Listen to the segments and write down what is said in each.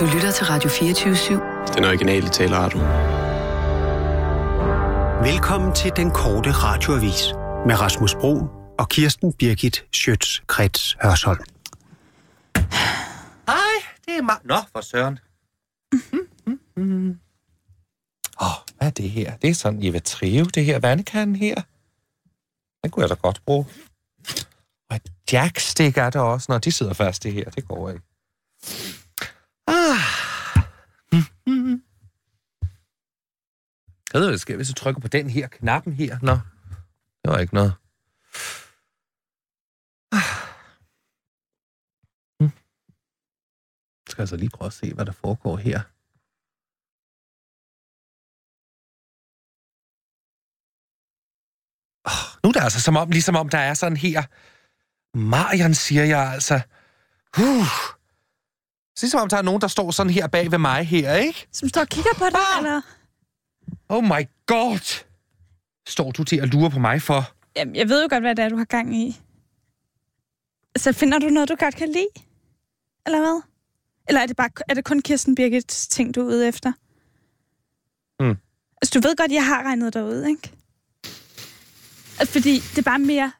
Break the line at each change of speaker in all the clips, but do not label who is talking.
Du lytter til Radio 24
Den originale taleradio.
Velkommen til den korte radioavis med Rasmus Bro og Kirsten Birgit Schøtz-Krets Hørsholm.
Hej, det er mig. Nå, for søren. Åh, mm, mm, mm. oh, hvad er det her? Det er sådan, I vil trive det her vandkanden her. Den kunne jeg da godt bruge. Og et jackstik er der også, når de sidder fast det her. Det går ikke. Ah. Mm, mm. Jeg ved, hvad der sker, hvis jeg trykker på den her knappen her. Nå, det var ikke noget. skal altså lige prøve at se, hvad der foregår her. Oh, nu er det altså som om, ligesom om der er sådan her. Marian, siger jeg altså. Uh. Ligesom om der er nogen, der står sådan her bag ved mig her, ikke?
Som står og kigger på dig,
Ah!
eller?
Oh my god! Står du til at lure på mig for?
Jamen, jeg ved jo godt, hvad det er, du har gang i. Så finder du noget, du godt kan lide? Eller hvad? Eller er det, bare, er det kun Kirsten Birgits ting, du er ude efter?
Hmm.
Altså, du ved godt, jeg har regnet dig ud, ikke? Altså, fordi det er bare mere...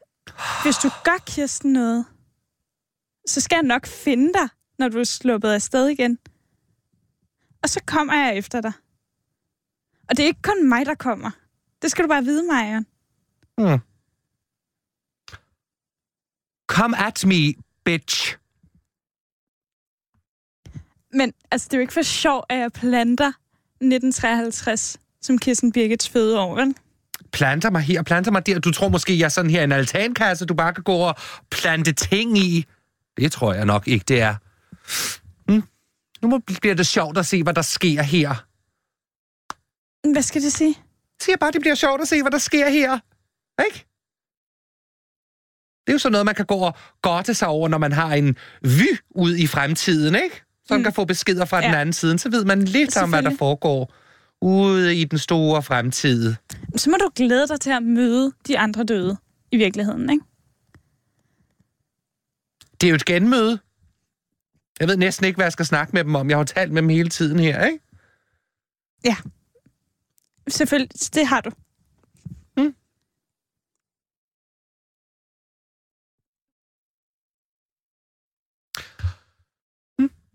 Hvis du gør Kirsten noget, så skal jeg nok finde dig, når du er sluppet afsted igen. Og så kommer jeg efter dig. Og det er ikke kun mig, der kommer. Det skal du bare vide, Marion.
Hmm. Come at me, bitch.
Men altså, det er jo ikke for sjov, at jeg planter 1953 som Kirsten Birgits fødeår, vel?
planter mig her, planter mig der. Du tror måske, jeg er sådan her en altankasse, du bare kan gå og plante ting i. Det tror jeg nok ikke, det er. Mm. Nu må- bliver det sjovt at se, hvad der sker her. Jeg
Men Hvad skal det sige?
siger bare, det bliver sjovt at se, hvad der sker her. Ikke? Det er jo sådan noget, man kan gå og godte sig over, når man har en vy ud i fremtiden, ikke? Som mm.
Mm.
kan få beskeder fra ja. den
Ja.
anden side. Så ved man lidt om, hvad der
Selvfølgelig.
foregår ude i den store fremtid.
Så må du glæde dig til at møde de andre døde i virkeligheden, ikke?
Det er jo et genmøde. Jeg ved næsten ikke, hvad jeg skal snakke med dem om. Jeg har jo talt med dem hele tiden her, ikke?
Selvfølgelig, det har du.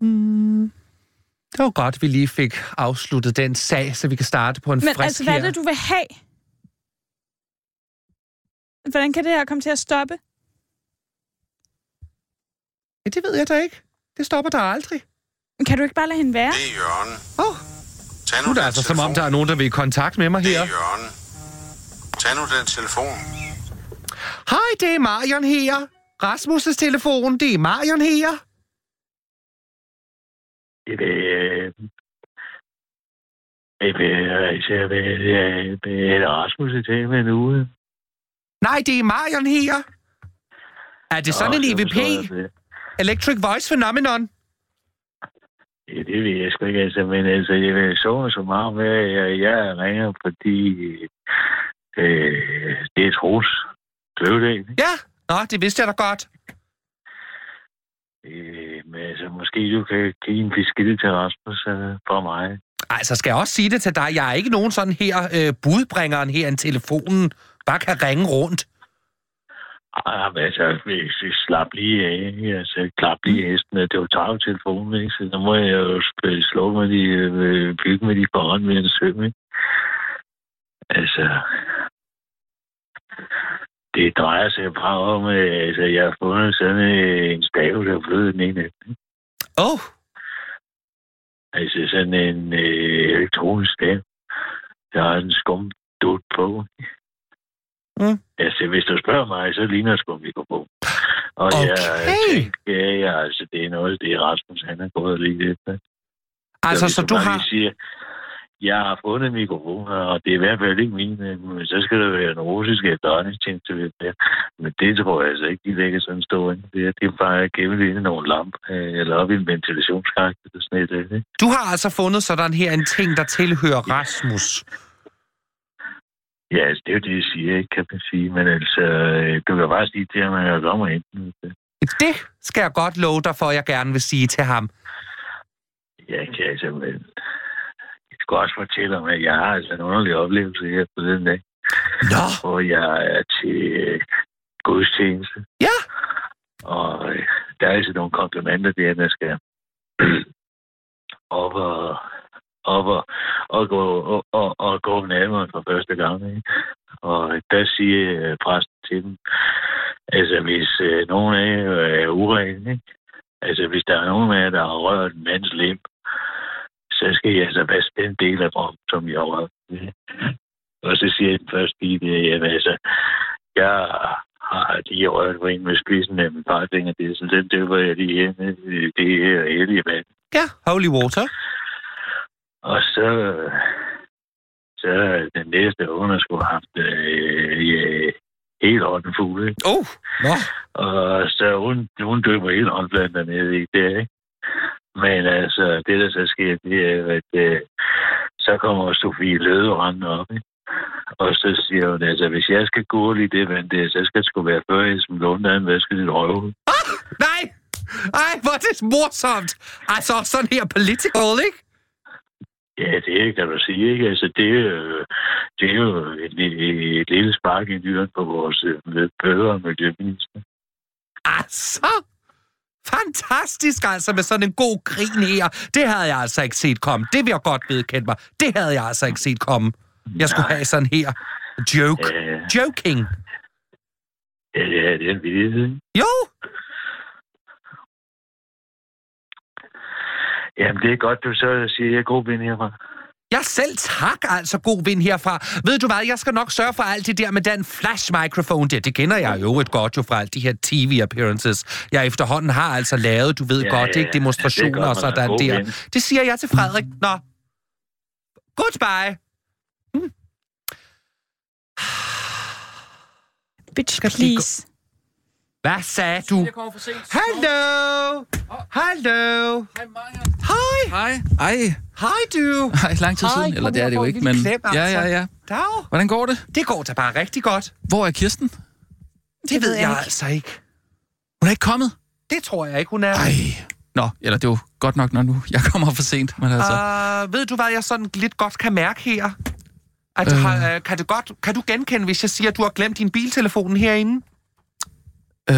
Mm. Det var godt, vi lige fik afsluttet den sag, så vi kan starte på en
Men
frisk
altså, hvad
her.
er det, du vil have? Hvordan kan det her komme til at stoppe?
Ja, det ved jeg da ikke. Det stopper der aldrig.
Men Kan du ikke bare lade hende være?
Det er Jørgen.
Åh,
Tag
nu er det altså, som om der er nogen, der vil i kontakt med mig
Det
her.
er Jørgen. Tag nu den telefon.
Hej, det er Marion her. Rasmus' telefon, det er Marion her.
Jeg vil... øh, Jeg vil... Altså, jeg vil... Jeg vil have Rasmus i tale med en uge.
Nej, det er Marion her. Er det sådan
Nå,
en E
så
EVP?
forstår jeg det.
Electric Voice Phenomenon?
Ja, det ved jeg sgu ikke, altså, men altså, jeg vil så så meget med, at jeg, jeg ringer, fordi øh, det er Troels Kløvedal.
Ja. Nå, det vidste jeg da godt.
Øh, men altså, måske du kan give en besked til Rasmus øh, fra mig.
Altså, skal jeg også sige det til dig? Jeg er ikke nogen sådan her øh, budbringeren her end telefonen, bare kan ringe rundt.
Ej, men altså, hvis I slap lige af, ikke? altså, klap
Mm.
lige hesten, det var tager jo telefonen, ikke? så så må jeg jo sp- slå med de, øh, bygge med de børn med en søm, ikke? Altså, det drejer sig bare om, øh, altså, jeg har fundet sådan øh, en stav, der er blevet den ene.
Åh, oh,
Altså, sådan en øh, elektronisk stav. Der har en skumdut på.
Mm.
Altså, hvis du spørger mig, så ligner skumdut på. Og jeg
Okay.
tænker, ja, altså, det er noget, det er Rasmus, han er gået lige lidt.
altså,
hvis
så du
bare
har...
lige Siger, jeg har fundet mikrofoner, og det er i hvert fald ikke mine, men så skal der være en russisk efterretningstjeneste ved det. Men det tror jeg altså ikke, de lægger sådan en stor ind. Det er, det er bare gennem ind i nogle lamper, øh, eller op i en ventilationsskagt, eller sådan et, øh, ikke?
Du har altså fundet sådan her en ting, der tilhører Rasmus.
Ja, altså, det er jo det, jeg siger, ikke, kan man sige. Men altså, øh, du kan bare sige til ham, at jeg kommer ind. øh,
Det skal jeg godt love dig for, at jeg gerne vil sige til ham.
jeg kan simpelthen... Jeg skal også fortælle om, at jeg har altså en underlig oplevelse her på den dag,
Nå!
hvor jeg er til øh, gudstjeneste.
Ja!
Og øh, der er altså nogle komplimenter der, der skal op og op og, og gå, og, og, og gå nærmere for første gang. Ikke? Og der siger øh, præsten til dem, altså hvis øh, nogen af jer er uren, ikke? altså hvis der er nogen af jer, der har rørt en mands lem, så skal jeg altså vaske den del af kroppen, som jeg har rørt. ikke? Og så siger den første pige, der, jamen altså, jeg har lige rørt på en med spidsen af min parfinger. Det er sådan, den døber jeg lige her med øh, det her hellige vand.
Ja, holy water.
Og så, øh, så er den næste under skulle have haft øh, ja, helt hånden fuld. Ikke?
Oh, nå.
Og så hun, hun døber helt håndblandt dernede i det, ikke? Men altså, det der så sker, det er, at øh, så kommer Sofie Løde rendende op, ikke? Og så siger hun, altså, hvis jeg skal gå lige det vand der, så skal det sgu være før, jeg som Lunde, han vasker dit røvhul.
Nej! Ej, hvor er det morsomt! Altså, sådan her political, ikke?
Ja, det kan du sige, ikke? Altså, det, øh, det er jo et, et, et lille spark i dyren på vores øh, med- bedre miljøminister.
Altså! Fantastisk altså med sådan en god grin her. Det havde jeg altså ikke set komme. Det vil jeg godt vedkende mig. Det havde jeg altså ikke set komme. Jeg skulle have sådan her. Joke.
Øh,
Joking.
ja, det er det er en vidighed, ikke?
Jo.
Jamen, det er godt, du så siger, jeg er god ven herfra.
Jeg selv tak, altså god vind herfra. Ved du hvad, jeg skal nok sørge for alt det der med den flash microphone der. Det kender jeg jo et godt jo fra alle de her tv-appearances, jeg efterhånden har altså lavet. Du ved
Ja,
ja, godt,
ja,
ja, ikke
ja.
demonstrationer
Det er godt,
og
man er
sådan
god
der.
ven.
Det siger jeg til Frederik. Nå. Goodbye.
Bitch,
Skal vi gå-
please.
Hvad sagde du?
Jeg kommer for sent.
Hallo! Hallo!
Hej, Maja.
Hej!
Hej. Ej,
Hej du!
ej, lang tid
Hej,
siden. Eller
kom
det
her
er det jo
og få
ikke,
en
men...
lille klem,
Ja,
altså.
ja, ja.
Dag!
Hvordan går det?
Det går da bare rigtig godt.
Hvor er Kirsten?
Det, det ved jeg, jeg altså ikke.
Hun er ikke kommet.
Det tror jeg ikke, hun er.
Ej. Nå, eller det er jo godt nok, når nu jeg kommer for sent. Men altså,
Altså. Uh, ved du, hvad jeg sådan lidt godt kan mærke her? At,
Øh.
øh. kan, du godt, kan du genkende, hvis jeg siger, at du har glemt din biltelefon herinde? Ah.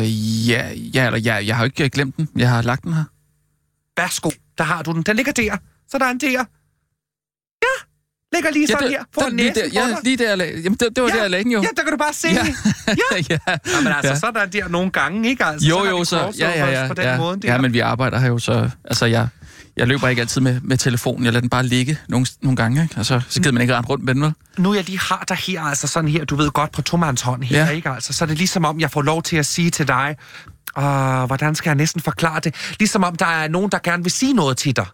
øh, ja, ja, eller ja, jeg har jo ikke øh, glemt den. Jeg har lagt den her.
Værsgo, der har du den. Den ligger der. Så der er en der. Ja, ligger lige
Ja,
sådan
det-
her. På
den- lige
næsen
der,
på
ja,
dig.
lige der, jeg lag- jamen, det, det var
Ja,
der, jeg lagde den jo.
Ja, der kan du bare se.
Ja.
Ja.
ja.
Men altså,
Ja.
ja. så er der der nogle gange, ikke? Altså,
Jo,
har
jo,
vi
så... Ja, ja,
crossovers
ja.
På den
ja.
måde der.
ja, men vi arbejder her jo, så... Altså, jeg, jeg løber ikke altid med, med telefonen. Jeg lader den bare ligge nogle, nogle gange, ikke? Og så, så gider man ikke rende rundt med den, vel?
nu jeg lige har dig her, altså sådan her, du ved godt, på tomands hånd her,
Ja.
ja. ikke altså? Så er det ligesom om, jeg får lov til at sige til dig, og hvordan skal jeg næsten forklare det? Ligesom om der er nogen, der gerne vil sige noget til dig.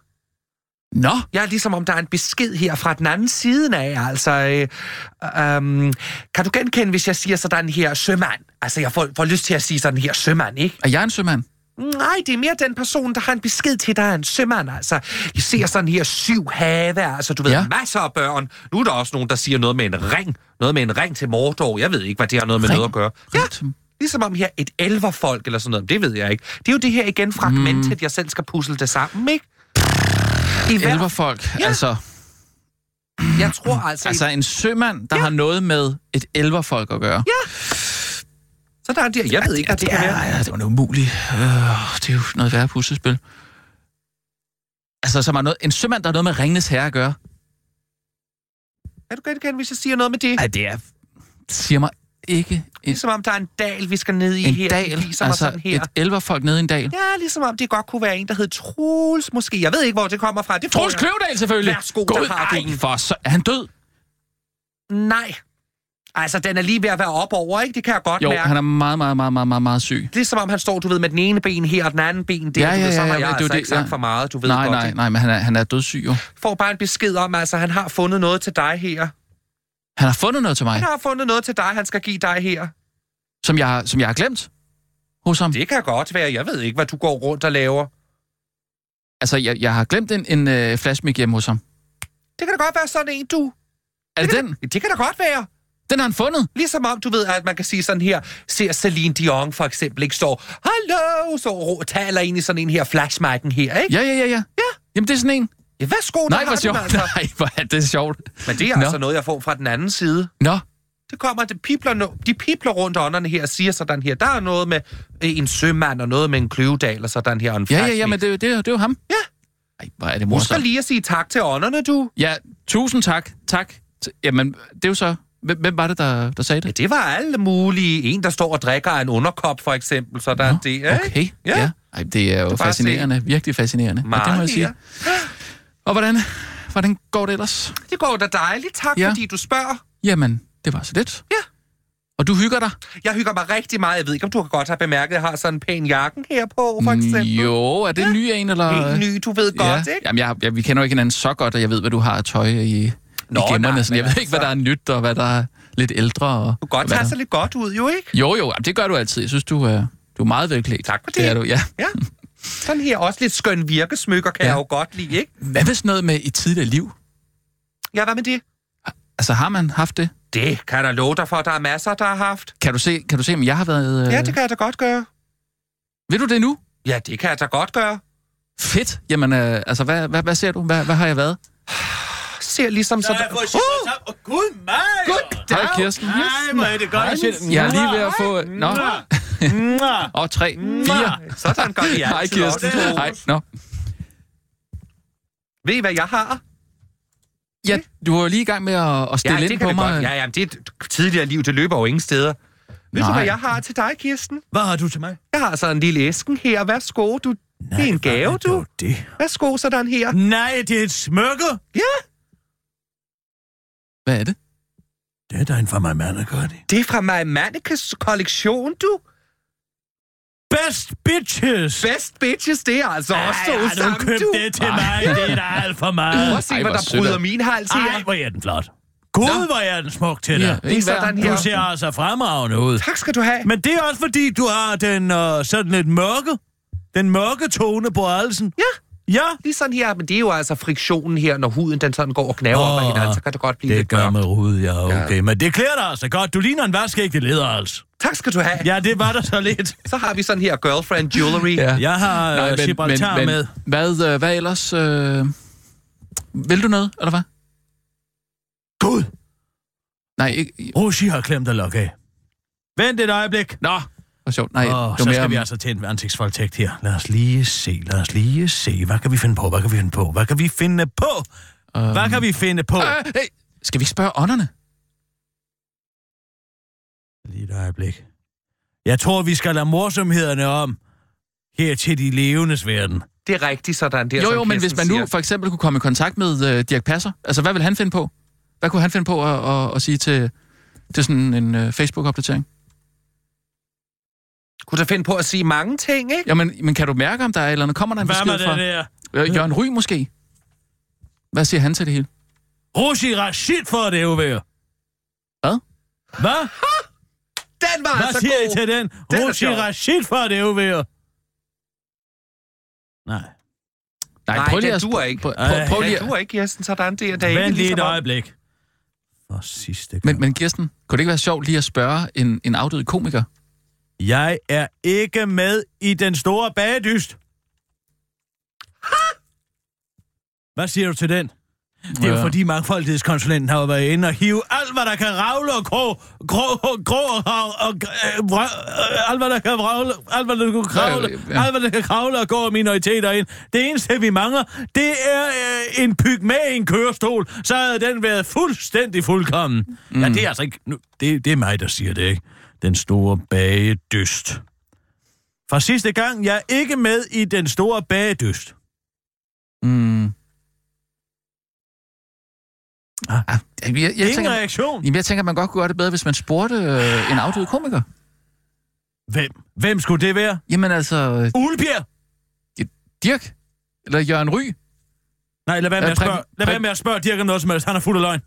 Nå,
Ja, ligesom om der er en besked her fra den anden side af, altså... Øh, øh, kan du genkende, hvis jeg siger sådan her sømand? Altså, jeg får, får lyst til at sige sådan her sømand, ikke?
er jeg en sømand?
Nej, det er mere den person, der har en besked til dig, en sømand, altså. I ser sådan her syv have, altså, du ved,
Ja.
ja. masser af børn. Nu er der også nogen, der siger noget med en ring. Noget med en ring til Mordor. Jeg ved ikke, hvad det har noget med
Ring?
noget at gøre. Ja, ligesom om her et elverfolk eller sådan noget. Det ved jeg ikke. Det er jo det her igen fragmentet, mm. jeg selv skal puzzle det sammen, ikke? I hver,
Elverfolk, ja.
Ja.
altså...
jeg tror altså...
Altså
altså
en sømand, der ja. har noget med et elverfolk at gøre. Ja,
så der er det, jeg ved ikke, hvad det kan
er,
være.
ja, det var noget umuligt. Øh, det er jo noget værre puslespil. Altså, som er noget, en sømand, der har noget med Ringnes Herre at gøre.
Kan du genkende, hvis jeg siger noget med det?
Ej, det er... Siger mig ikke en,
Ligesom om der er en dal, vi skal ned i
en
her.
dal.
Ligesom altså,
Altså,
sådan her.
et elverfolk nede i en dal.
Ja, ligesom om det godt kunne være en, der hed Troels, måske. Jeg ved ikke, hvor det kommer fra. Det får
Troels
jeg.
Kløvedal, selvfølgelig.
Værsgo,
God,
der har du
ej,
den.
for så, er han død?
Nej. Altså, den er lige ved at være op over, ikke? Det kan jeg godt
Jo,
mærke.
han er meget, meget, meget, meget, meget, meget syg.
Ligesom om han står, du ved, med den ene ben her og den anden ben der.
Ja,
du
ja,
ved, så
ja,
har
ja,
jeg
men det er jo
altså
det,
ikke sagt
ja.
for meget, du ved
Nej,
godt.
nej,
ikke?
nej, men han er, han er dødssyg jo.
Får bare en besked om, altså, han har fundet noget til dig her.
Han har fundet noget til mig,
Han har fundet noget til dig, han skal give dig her.
som jeg, har- som jeg har glemt hos ham.
Det kan godt være. Jeg ved ikke, hvad du går rundt og laver.
Altså, jeg, jeg har glemt en, en øh, flashmik hjemme hos ham.
Det kan da godt være sådan en, du.
Er det
kan
den?
Da, det kan da godt være.
Den har han fundet.
Ligesom om, du ved, at man kan sige sådan her, ser Celine Dion for eksempel ikke står, hallo, så rå- taler ind i sådan en her flashmarken her, ikke?
Ja, ja, ja, ja.
Ja.
Jamen, det er sådan en.
Ja, værsgo, der
Nej,
har
hvor
du den
sjovt.
altså.
Nej, hvor er det sjovt.
Men det er
Nå.
altså noget, jeg får fra den anden side.
Nå,
Det kommer, det pipler, no- de pipler rundt ånderne her og siger sådan her. Der er noget med øh, en sømand og noget med en kløvedal og sådan her. Og en
ja, ja,
fragt
ja, men det, det, er jo- det er jo ham.
Ja.
Ej, hvor er det
Husk
morsomt.
at lige at sige tak til ånderne, du.
Ja, tusind tak. Tak. T- Jamen, det er jo så... Hvem, hvem var det, der, der sagde
Ja,
det?
det var alle mulige. En, der står og drikker af en underkop, for eksempel. Så der er det, ikke?
Okay,
Ja.
ja. ja. Ej, det er jo
kan bare
fascinerende. Virkelig fascinerende. Ja, det må jeg
Meget,
sige. Og hvordan, hvordan går det ellers?
Det går da dejligt. Tak, ja.
Ja.
fordi du spørger.
Jamen, det var så lidt.
Ja.
Og du hygger dig?
Jeg hygger mig rigtig meget. Jeg ved ikke, om du kan godt have bemærket, at jeg har sådan en pæn jakken her på, for eksempel.
Mm, Jo, er det en ny en, eller?
Helt ny, du ved godt,
ja.
ikke?
Jamen, jeg, jeg, vi kender jo ikke hinanden så godt, og jeg ved, hvad du har af tøj i,
Nå,
Nå, i gemmerne.
nej,
sådan. Jeg
men altså-
ved ikke, hvad der er nyt, og hvad der er lidt ældre. Og,
Du kan godt
og hvad
tage
der-
sig lidt godt ud, jo ikke?
Jo, jo, jamen, det gør du altid. Jeg synes, du, øh, du er meget velklædt.
Tak for det.
det er du, ja.
Ja. Sådan her også lidt skøn virkesmykker kan ja.
Ja.
jeg jo godt lide, ikke?
Hvad hvis noget med i tidligere liv?
Ja, hvad med det?
Altså, har man haft det?
Det kan jeg da love dig for, der er masser, der har haft.
Kan du se, kan du se om jeg har været... Øh...
Ja, det kan jeg da godt gøre.
Ved du det nu?
Ja, det kan jeg da godt gøre.
Fedt. Jamen, øh, altså, hvad, hvad, hvad ser du? Hvad, hvad har jeg været?
Ser ligesom
Så
sådan...
har jeg fået
Uh!
uh! op. Og gud mig!
Hej, Kirsten.
Nej, hvor er det godt at se den.
Jeg er lige ved at få... Nå,
Nå.
og tre, fire.
Sådan gør vi
Hej,
altid
Kirsten.
også.
Hej. Nå.
Ved I, hvad jeg har?
Ja, du var jo lige i gang med at, at stille
ja,
ind
det
på
kan det
mig.
godt. Ja, ja, men det er et tidligere liv, det løber jo ingen steder. Ved du,
Nej.
hvad jeg har til dig, Kirsten?
Hvad har du til mig?
Jeg har sådan en lille æsken her. Værsgo, du. Nej, det er en
hvor
gave, du.
dog Det.
Værsgo, sådan her.
Nej, det er et smykke.
Ja,
Hvad er det?
Det er da en fra mig, mand, gør det.
det er fra My Manicas kollektion, du.
Best bitches.
Best bitches, det er altså også
Ej,
to
har du
sammen,
købt
du.
det til mig? Det er da alt for meget.
Prøv at se,
Ej,
hvad
hvor
der
sødt
bryder
af-
min hals her.
Ej, hvor er den flot. Gud, hvor er den smuk til dig.
Det er sådan her.
Du ser altså fremragende ud.
Tak skal du have.
Men det er også fordi, du har den øh, sådan lidt mørke, den mørke tone på halsen.
Ja,
Ja,
lige sådan her. Men det er jo altså friktionen her, når huden den sådan går og knaver oh, op ad
Åh,
hinanden, så kan det godt blive
det
lidt
gør
mørkt.
med rud, ja, okay. Ja. Men det klæder dig altså godt. Du ligner en vaskægte leder, altså.
Tak skal du have. Ja.
Ja, det var der så lidt.
Så har vi sådan her girlfriend jewelry. ja.
Jeg har
Nej,
øh,
men-
Gibraltar
men- men
med.
Hvad, øh, hvad ellers? Øh... Vil du noget, eller hvad?
Gud,
Nej, ikke...
Roshi har klemt dig lok af. Vent et øjeblik.
Nå, hvor sjovt. Nej,
Åh,
det
så
var
skal
mere...
vi
om-
altså til en ansigtsvoldtægt her. Lad os lige se, lad os lige se. Hvad kan vi finde på, hvad kan vi finde på, hvad kan vi finde på? Hvad kan vi finde på?
Øh, hey, skal vi ikke spørge ånderne?
Lige et øjeblik. Jeg tror, vi skal lade morsomhederne om her til de levendes verden.
Det er rigtigt sådan der,
Jo,
som
jo, men
Kirsten
hvis man nu
siger.
for eksempel kunne komme i kontakt med øh, Dirk Passer, altså hvad vil han finde på? Hvad kunne han finde på at, at, at sige til, til sådan en øh, Facebook-opdatering?
Kunne du finde på at sige mange ting, ikke?
Jamen, men kan du mærke, om der er et eller andet? Kommer der en
Hvad med
besked
det
fra
der?
Øh, Jørgen Ry måske? Hvad siger han til det hele?
Roshi Rashid for det uvær.
Hvad?
Hvad?
Den var
Hvad
altså
siger I
god.
til den?
Den er
Roshi
sjov.
Rashid for det uvær. Nej.
Nej,
Nej,
prøv lige
den
at...
duer ikke.
Prøv, prøv, prøv
Men
lige
du
at...
er ikke, Kirsten, sådan der. Det er ikke
Vent lige
ligesom
et
om-
øjeblik. For sidste gang.
Men, men Kirsten, kunne det ikke være sjovt lige at spørge en, en afdød komiker?
Jeg er ikke med i den store bagedyst. Hvad siger du til den? Det er jo
Ja.
fordi mangfoldighedskonsulenten har jo været inde og hive alt, hvad der kan ravle og grå, grå, grå og, rav, og øh, vrø, øh, alt, hvad der kan ravle, alt, hvad der kan kravle,
Ja, ja.
alt, hvad der kan kravle og gå og minoriteter ind. Det eneste, vi mangler, det er øh, en pyg med en kørestol, så havde den været fuldstændig fuldkommen. Mm. Ja, det er altså ikke... Nu, det, det er mig, der siger det, ikke? Den store bagedyst. Fra sidste gang, jeg er ikke med i den store bagedyst.
Mm. Ah, jeg, jeg, jeg,
Ingen
tænker,
reaktion.
jamen, jeg tænker, man godt kunne gøre det bedre, hvis man spurgte øh, en afdød komiker.
Hvem? Hvem skulle det være?
Jamen altså, øh,
Ulbjerg?
Dirk? Eller Jørgen Ry?
Nej, lad være med
Ja,
at spørge,
Preben-
lad være
Preben-
med at spørge Dirk om noget som helst. Han er fuld af løgn.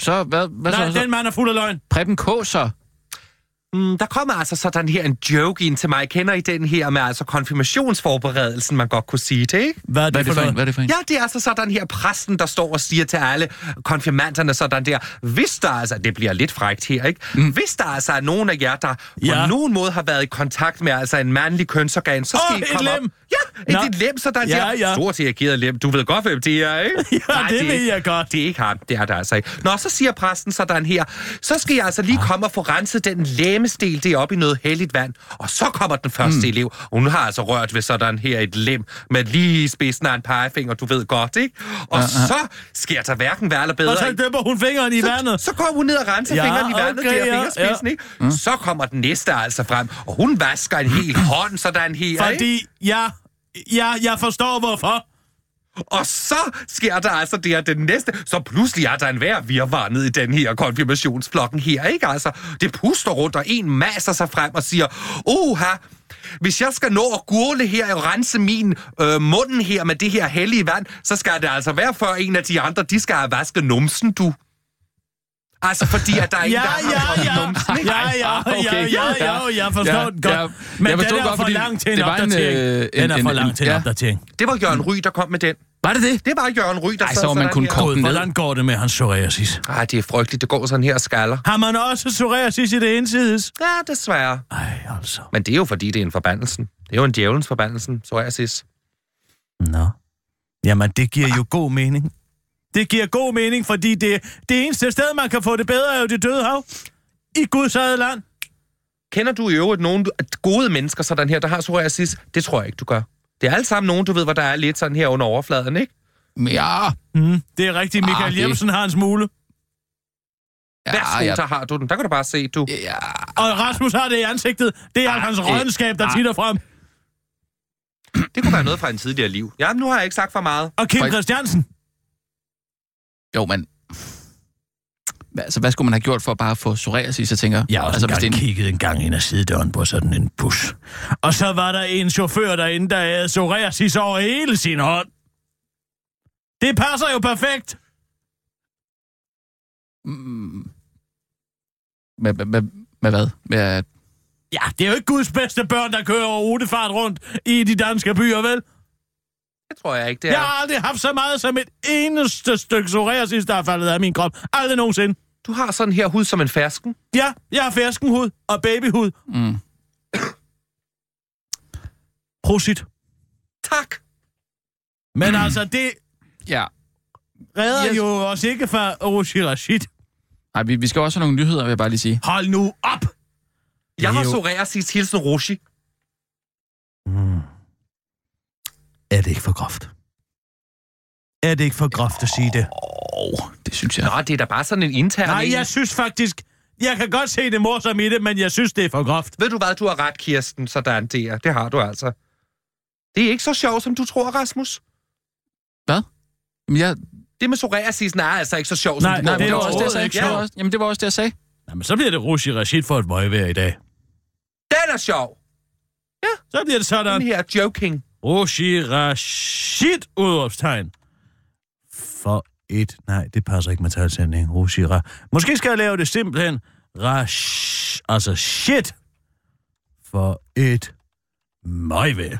Så hvad, hvad
Nej,
så? så?
den mand er fuld af løgn.
Preben K. så?
Mm, der kommer altså sådan her en joke ind til mig. Kender I den her med altså konfirmationsforberedelsen, man godt kunne sige det, ikke?
Hvad er det,
Hvad er det for en? Hvad er det for en?
Ja, det er altså sådan her præsten, der står og siger til alle konfirmanterne sådan der, hvis der altså, det bliver lidt frækt her, ikke? Mm. Hvis der altså er nogen af jer, der ja.
Ja.
på nogen måde har været i kontakt med altså en mandlig kønsorgan, så skal
Åh,
I
et
komme
lem!
op. Ja,
Nå.
et, et lem sådan
Ja,
der.
ja.
Stort erigeret lem. Du ved godt, hvem det er, ikke?
Ja, det
er
ved
ikke-
jeg godt.
Det er ikke ham. Det er der altså ikke. Nå, så siger præsten sådan her, så skal jeg altså lige komme og få renset den læmesdel, det er op i noget heldigt vand. Og så kommer den første mm.
Hmm.
elev, og hun har altså rørt ved sådan her et lem med lige i spidsen af en pegefinger, du ved godt, ikke? Og ja, ja. så sker der hverken værre eller bedre.
Og så døber hun fingeren i vandet.
Så går hun ned og renser
Ja,
ja, fingeren i vandet,
okay,
okay, der
ja,
fingerspidsen,
ja.
ikke? Mm. Så kommer den næste altså frem, og hun vasker en hel hånd sådan her, ikke?
Fordi, ja, ja, jeg forstår hvorfor.
Og så sker der altså det her, den næste, så pludselig er der en vær virvar ned i den her konfirmationsflokken her, ikke altså? Det puster rundt, og en masser sig frem og siger, oha, hvis jeg skal nå at gurle her og rense min øh, munden her med det her hellige vand, så skal det altså være før en af de andre, de skal have vasket numsen, du. Altså, fordi at der er en,
Ja,
der har
ja,
vasket
ja.
numsen, ikke?
Ja, ja,
Ah, okay.
ja, ja, ja, jeg forstår den godt. Men
jeg forstod
den er for
godt, fordi
lang til en
det var en,
opdatering.
øh, en-
Den er
en-
for
en-
lang til en
ja.
opdatering.
Det var Jørgen Ry, der kom med den.
Var det det?
Det var Jørgen Ry, der
Ej,
sad
så var man
sådan
kun
her.
kort.
God,
ned.
hvordan går det med hans psoriasis?
Ej, det er frygteligt. Det går sådan her og skaller.
Har man også psoriasis i det indsides?
Ja, desværre.
Ej, altså.
Men det er jo fordi, det er en forbandelsen. Det er jo en djævelens forbandelsen, psoriasis.
Nå. Jamen, det giver jo god mening. Det giver god mening, fordi det, det eneste sted, man kan få det bedre, er jo det døde hav. I Guds eget land.
Kender du i øvrigt nogen du- at gode mennesker sådan her, der har psoriasis? Det tror jeg ikke, du gør. Det er alle sammen nogen, du ved, hvor der er lidt sådan her under overfladen, ikke?
Ja,
Mm, det er rigtigt, Michael
Ah,
ah,
det-
Jebsen har en smule.
ja,
Værsgo,
ja,
der har du den. Der kan du bare se, du.
ja.
Og Rasmus har det i ansigtet. Det er ah, hans
det-
rådenskab, der titter frem.
Det kunne være noget fra en tidligere liv. Ja, nu har jeg ikke sagt for meget.
Og Kim
For-
Christiansen.
Jo, men... Hvad- Altså, hvad skulle man have gjort for bare at få psoriasis, jeg tænker?
Jeg har også
altså,
altså, engang
det er en-
kigget en gang ind ad sidedøren på sådan en bus. Og så var der en chauffør derinde, der havde psoriasis over hele sin hånd. Det passer jo perfekt.
Mm. Med, med, med, med hvad? Med, at-
Ja, det er jo ikke Guds bedste børn, der kører rutefart rundt i de danske byer, vel?
Det tror jeg ikke, det
Ja.
er.
Jeg har aldrig haft så meget som et eneste stykke psoriasis, der er faldet af min krop. Aldrig nogensinde.
Du har sådan her hud som en fersken.
Ja, jeg har ferskenhud og babyhud.
mm.
Prosit.
Tak.
Men altså, det
Ja.
redder
Yes.
yes. jo os ikke fra Roshi Rashid.
Ej, vi, vi skal også have nogle nyheder, vil jeg bare lige sige.
Hold nu op!
Jeg har
Jo.
psoriasis hilsen Roshi.
Er det ikke for groft? Er det ikke for groft at sige det?
Åh, oh, det synes jeg.
Nå, det er da bare sådan en intern
Nej,
en.
jeg synes faktisk... Jeg kan godt se det morsomme i det, men jeg synes, det er for groft.
Ved du hvad, du har ret, Kirsten, sådan der. Det har du altså. Det er ikke så sjovt, som du tror, Rasmus.
Hvad? Jamen, jeg,
Det med psoriasisen er altså ikke så sjovt,
Nej,
som
nej,
det
men
er
det var også det, jeg
overhovedet
sagde.
ikke
Det var
sjovt.
også, jamen, det var også det, jeg sagde.
Jamen, så bliver det Roshi Rashid for et møgvejr i dag.
Den er sjov.
Så bliver det sådan...
Den her joking.
Roshi Rashid, udråbstegn. For et... Nej, det passer ikke med talsætningen. Roshi Ra... Måske skal jeg lave det simpelthen. Rash... Altså shit. For et... Møgvejr.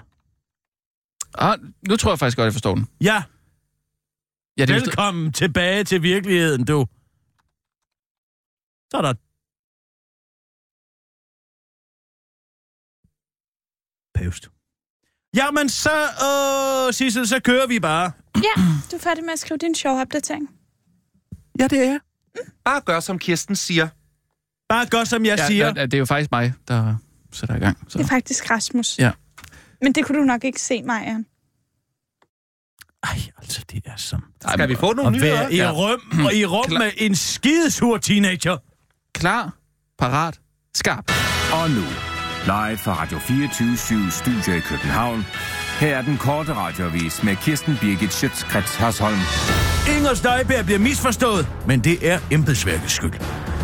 Ah, nu tror jeg faktisk godt, jeg forstår den.
Ja,
Ja, det er vist-
Velkommen tilbage til virkeligheden, du. Så er der... Pævst. Jamen, så, øh, Sissel, så kører vi bare.
Ja, du er færdig med at skrive din sjove opdatering.
Ja, det er
Bare gør, som Kirsten siger.
Bare gør, som jeg ja, siger.
Ja, det er jo faktisk mig, der sætter i gang. Så.
Det er faktisk Rasmus.
Ja.
Men det kunne du nok ikke se, Maja.
Ej, altså, det er som...
Ej,
Skal vi få nogle
At
nyheder?
være i rum, og i rum
Klar.
med en skidesur teenager.
Klar, parat, skarp.
Og nu, live fra Radio 24 Studio i København. Her er den korte radiovis med Kirsten Birgit Schøtzgrads Hasholm.
Inger Støjberg bliver misforstået, men det er embedsværkets skyld.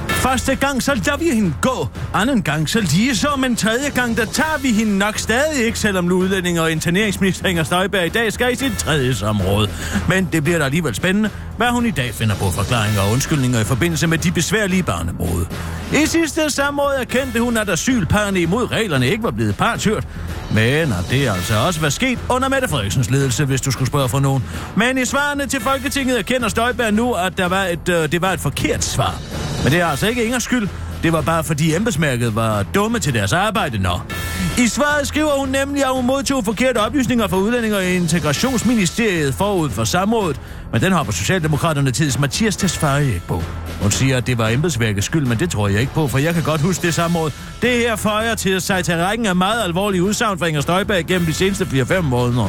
Første gang, så lader vi hende gå. Anden gang, så lige så. Men tredje gang, der tager vi hende nok stadig ikke, selvom nu udlænding og interneringsminister Inger Støjberg i dag skal i sit tredje samråd. Men det bliver da alligevel spændende, hvad hun i dag finder på forklaringer og undskyldninger i forbindelse med de besværlige barnebrud. I sidste samråd erkendte hun, at asylparerne imod reglerne ikke var blevet partshørt. Men og det er altså også, hvad sket under Mette Frederiksens ledelse, hvis du skulle spørge for nogen. Men i svarene til Folketinget erkender Støjberg nu, at der var et, øh, det var et forkert svar. Men det er altså ikke Ingers skyld. Det var bare fordi embedsmærket var dumme til deres arbejde, nå. I svaret skriver hun nemlig, at hun modtog forkerte oplysninger fra Udlændinge- og Integrationsministeriet forud for samrådet, men den hopper Socialdemokraterne tids Mathias Tesfaye ikke på. Hun siger, at det var embedsværkets skyld, men det tror jeg ikke på, for jeg kan godt huske det samråd. Det her føjer til sig til rækken af meget alvorlige udsagn fra Inger Støjberg gennem de seneste 4-5 måneder.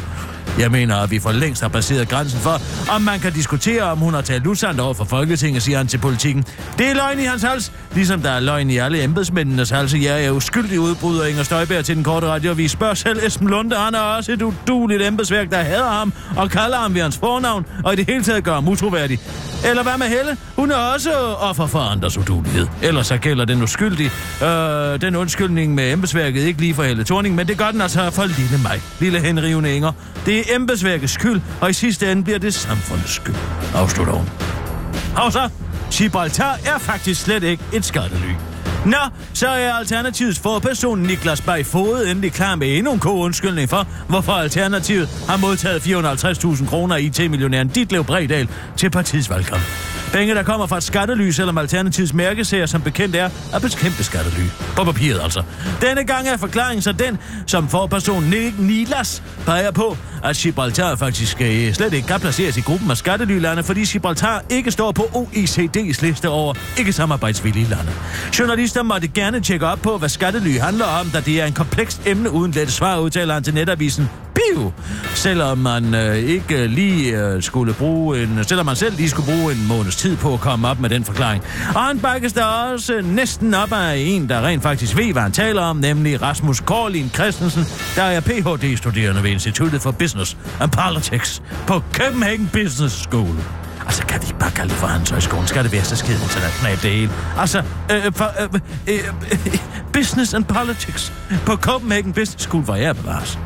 Jeg mener, at vi for længst har passeret grænsen for, om man kan diskutere, om hun har talt usandt over for Folketinget, siger han til politikken. Det er løgn i hans hals, ligesom der er løgn i alle embedsmændenes halse. Jeg er uskyldig udbryder Inger Støjberg til den korte radioavis. Spørg selv Esben Lunde, han er også et uduligt embedsværk, der hader ham og kalder ham ved hans fornavn, og i det hele taget gør ham utroværdig. Eller hvad med Helle? Hun er også offer for andres udulighed. Ellers så gælder den uskyldig. Øh, den undskyldning med embedsværket ikke lige for Helle Thorning, men det gør den altså for lille mig. Lille henrivende Inger. Det er embedsværkets skyld, og i sidste ende bliver det samfundets skyld. Afslutter hun. Og så, Gibraltar er faktisk slet ikke et skattely. Nå, så er Alternativets forperson Niklas Bay Fode endelig klar med endnu en god undskyldning for, hvorfor Alternativet har modtaget 450.000 kroner af IT-millionæren Ditlev Bredal til partiets valgkamp. Penge, der kommer fra et skattely, selvom Alternativets mærkesager som bekendt er at bekæmpe skattely. På papiret altså. Denne gang er forklaringen så den, som forpersonen Nick Nilas peger på, at Gibraltar faktisk øh, slet ikke kan placeres i gruppen af skattelylande, fordi Gibraltar ikke står på OECD's liste over ikke-samarbejdsvillige lande. Journalister måtte gerne tjekke op på, hvad skattely handler om, da det er en komplekst emne uden let svar, udtaler han til netavisen Piu. Selvom man øh, ikke øh, lige øh, skulle bruge en, selvom man selv lige skulle bruge en måneds tid på at komme op med den forklaring. Og han bakkes der også øh, næsten op af en, der rent faktisk ved, hvad han taler om, nemlig Rasmus Korlin Christensen, der er Ph.D.-studerende ved Instituttet for Business and Politics på Copenhagen Business School. Altså, kan vi ikke bare kalde det for Hans Højskolen? Skal det være så skide internationalt det hele? Altså, øh, for, øh, øh, øh, business and politics på Copenhagen Business School, hvor jeg bevares.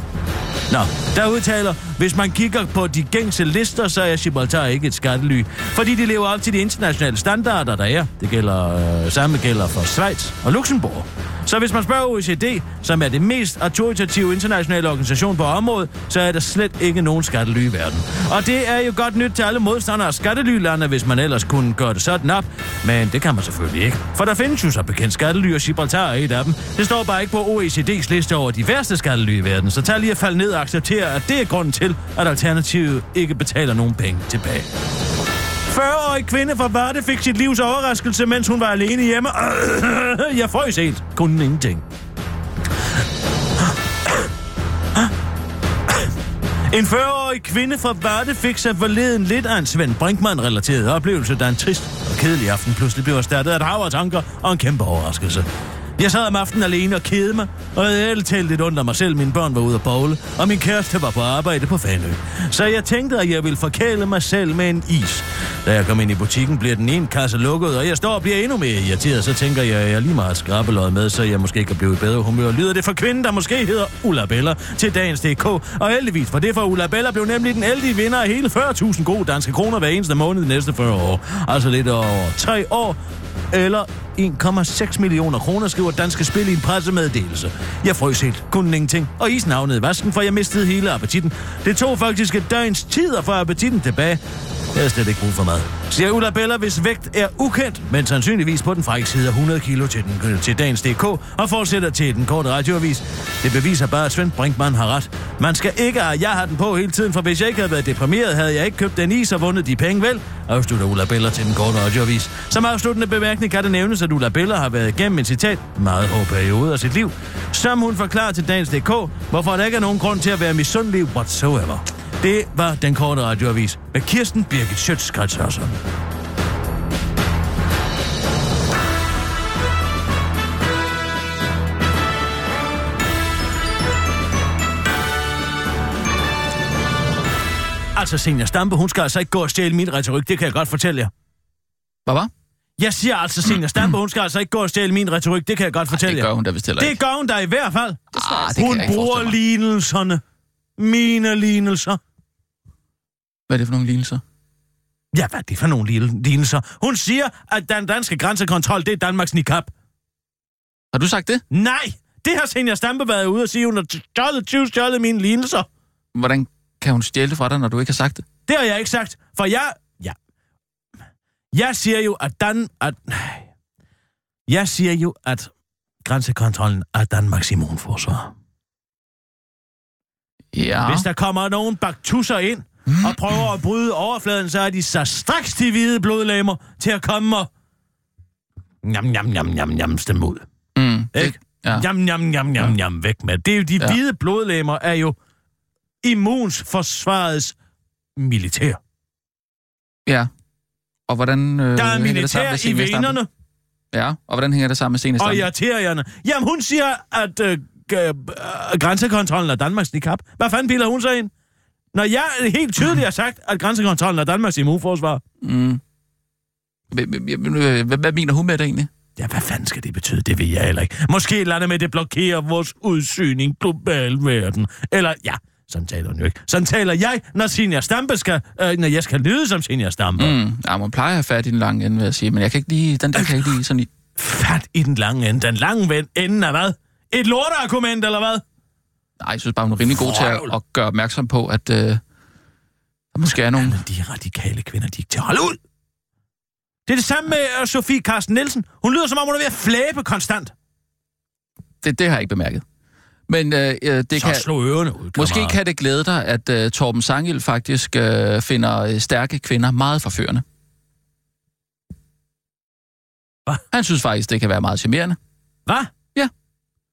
Nå, der udtaler, hvis man kigger på de gængse lister, så er Gibraltar ikke et skattely, fordi de lever op til de internationale standarder, der er. Det gælder, øh, samme gælder for Schweiz og Luxembourg. Så hvis man spørger OECD, som er det mest autoritative internationale organisation på området, så er der slet ikke nogen skattely i verden. Og det er jo godt nyt til alle modstandere af skattelylande, hvis man ellers kunne gøre det sådan op. Men det kan man selvfølgelig ikke. For der findes jo så bekendt skattely, og Gibraltar er et af dem. Det står bare ikke på OECD's liste over de værste skattely i verden, så tag lige at falde ned og acceptere, at det er grunden til, at Alternativet ikke betaler nogen penge tilbage. 40-årig kvinde fra Varde fik sit livs overraskelse, mens hun var alene hjemme. Jeg frøs helt. Kun ingenting. En 40-årig kvinde fra Varde fik sig forleden lidt af en Svend Brinkmann-relateret oplevelse, da en trist og kedelig aften pludselig blev erstattet af et hav af tanker og en kæmpe overraskelse. Jeg sad om aftenen alene og kedede mig, og jeg havde talt lidt under mig selv. Mine børn var ude at bowle, og min kæreste var på arbejde på Fanø. Så jeg tænkte, at jeg ville forkæle mig selv med en is. Da jeg kom ind i butikken, bliver den ene kasse lukket, og jeg står og bliver endnu mere irriteret. Så tænker jeg, at jeg lige meget skrabbeløjet med, så jeg måske kan blive i bedre humør. Lyder det for kvinden, der måske hedder Ulla Bella til dagens DK. Og heldigvis for det, for Ulla Bella blev nemlig den ældige vinder af hele 40.000 gode danske kroner hver eneste måned de næste 40 år. Altså lidt over 3 år eller 1,6 millioner kroner, skriver Danske Spil i en pressemeddelelse. Jeg frøs helt, kun ingenting, og isen havnede i vasken, for jeg mistede hele appetitten. Det tog faktisk et døgns tid at få appetitten tilbage. Jeg har slet ikke brug for mad. Siger Ulla Bella, hvis vægt er ukendt, men sandsynligvis på den frække side af 100 kilo til, den, til dagens DK, og fortsætter til den korte radioavis. Det beviser bare, at Svend Brinkmann har ret. Man skal ikke, og jeg har den på hele tiden, for hvis jeg ikke havde været deprimeret, havde jeg ikke købt den is og vundet de penge vel, afslutter Ulla Bella til den korte radioavis. Som afsluttende bemærkning kan det nævnes, at Ulla Bella har været igennem en citat meget hård periode af sit liv, som hun forklarer til dagens DK, hvorfor der ikke er nogen grund til at være misundelig whatsoever. Det var den korte radioavis med Kirsten Birgit Schøtzgrads Hørsholm. Altså, Senior Stampe, hun skal altså ikke gå og stjæle min retorik, det kan jeg godt fortælle jer.
Hvad var?
Jeg siger altså, Senior Stampe, hun skal altså ikke gå og stjæle min retorik. Det kan jeg godt fortælle
det gør
jer.
hun da vist heller
Det
ikke.
gør hun der i hvert fald.
Ah, det kan
Hun
jeg ikke
bruger
forestille mig.
lignelserne. Mine lignelser.
Hvad er det for nogle lignelser?
Ja, hvad er det for nogle lille lignelser? Hun siger, at den danske grænsekontrol, det er Danmarks nikab.
Har du sagt det?
Nej, det har Senior Stampe været ude og sige. Hun har stjålet, tyv stjålet mine lignelser.
Hvordan kan hun stjæle det fra dig, når du ikke har sagt det?
Det har jeg ikke sagt, for jeg... Ja. Jeg siger jo, at Dan... At, nej. Jeg siger jo, at grænsekontrollen er Danmarks immunforsvar.
Ja.
Hvis der kommer nogen baktusser ind og prøver at bryde overfladen, så er de så straks de hvide blodlemmer til at komme og... Njam, njam, njam, njam, njam, stemme ud.
Mm,
Ikke?
ja.
Njam, njam, njam, njam, njam, væk med. Det er jo, de
Ja.
hvide blodlemmer er jo immunforsvarets
Øh,
militær.
ja. Og hvordan... Øh,
Der er
hænger det sammen
militær
med
i
Zenia Stampe?
venerne,
Ja, og hvordan hænger det sammen med Zenia
og
Stampe?
irriterende. Jamen, hun siger, at øh, g- øh, grænsekontrollen er Danmarks nikab. Hvad fanden piller hun så ind? Når jeg helt tydeligt har sagt, at grænsekontrollen er Danmarks immunforsvar.
Mm. Hvad- hvad- hvad- Hvad mener hun med det egentlig?
Ja, hvad fanden skal det betyde? Det ved jeg heller ikke. Måske et eller andet med, at det blokerer vores udsyn i en global verden. Eller, ja, sådan taler hun jo ikke. Sådan taler jeg, når Senior Stampe skal, øh, når jeg skal lyde som Senior Stampe. Mm.
Mm. Ja, man plejer at have fat i den lange ende, vil jeg sige, men jeg kan ikke lige, den der kan jeg ikke lige sådan i.
Fat i den lange ende. Den lange ven- ende af hvad? Et lorteargument, eller hvad?
Nej, jeg synes bare, hun er rimelig god til
Vrøvl.
at, at gøre opmærksom på, at øh, der måske er nogle...
Men de radikale kvinder, de er ikke til at holde ud. Det er det samme med øh, Sofie Carsten Nielsen. Hun lyder som om, hun er ved at flæbe konstant.
Det, det har jeg ikke bemærket. Men øh, øh, det
Det så
kan...
kan... slå ørerne ud,
Måske
kammerat.
kan det glæde dig, at øh, Torben Sangel faktisk øh, finder øh, stærke kvinder meget forførende.
Hva?
Han synes faktisk, det kan være meget charmerende.
Hvad?
Ja.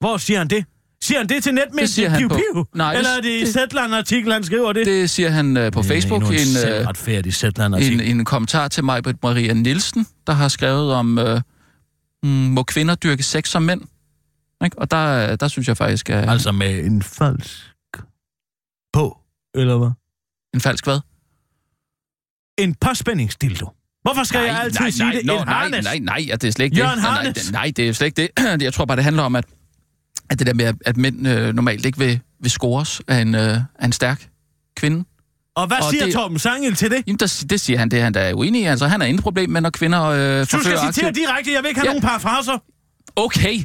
Hvor siger han det? Siger han det til netmediet?
Det siger han
piu,
på-
piu?
Nej, det-
Eller er det i
det-
Zetland-artiklen, han skriver det?
Det siger han øh, på Facebook i
Det
en,
er
øh,
en retfærdig
en,
Zetland-artikel.
en kommentar til mig, Maria Nielsen, der har skrevet om, øh, mm, må kvinder dyrke sex som mænd? Ikke? Og der, øh, der synes jeg faktisk, at altså.
Altså med en falsk på, eller hvad?
en falsk hvad?
En påspændingsdildo. Hvorfor skal jeg altid
nej,
sige
nej,
det?
nå,
en
nej,
harness.
nej, nej, ja, det er slet ikke
Jørgen
det. Nej, nej,
Harnes.
det- nej, det er slet ikke det. Jeg tror bare, det handler om, at, at det der med, at- at mænd øh, normalt ikke vil, vil scores af en, øh, af en stærk kvinde.
Og hvad
Og
siger
det-
Torben Sangel til det?
Jamen, der, det siger han, det er han, der er uenig i. Altså, han er inde i problem med, når kvinder øh,
Du skal
forfører
citere
aktivt.
direkte, jeg vil ikke have
Ja.
nogen parafraser.
Okay,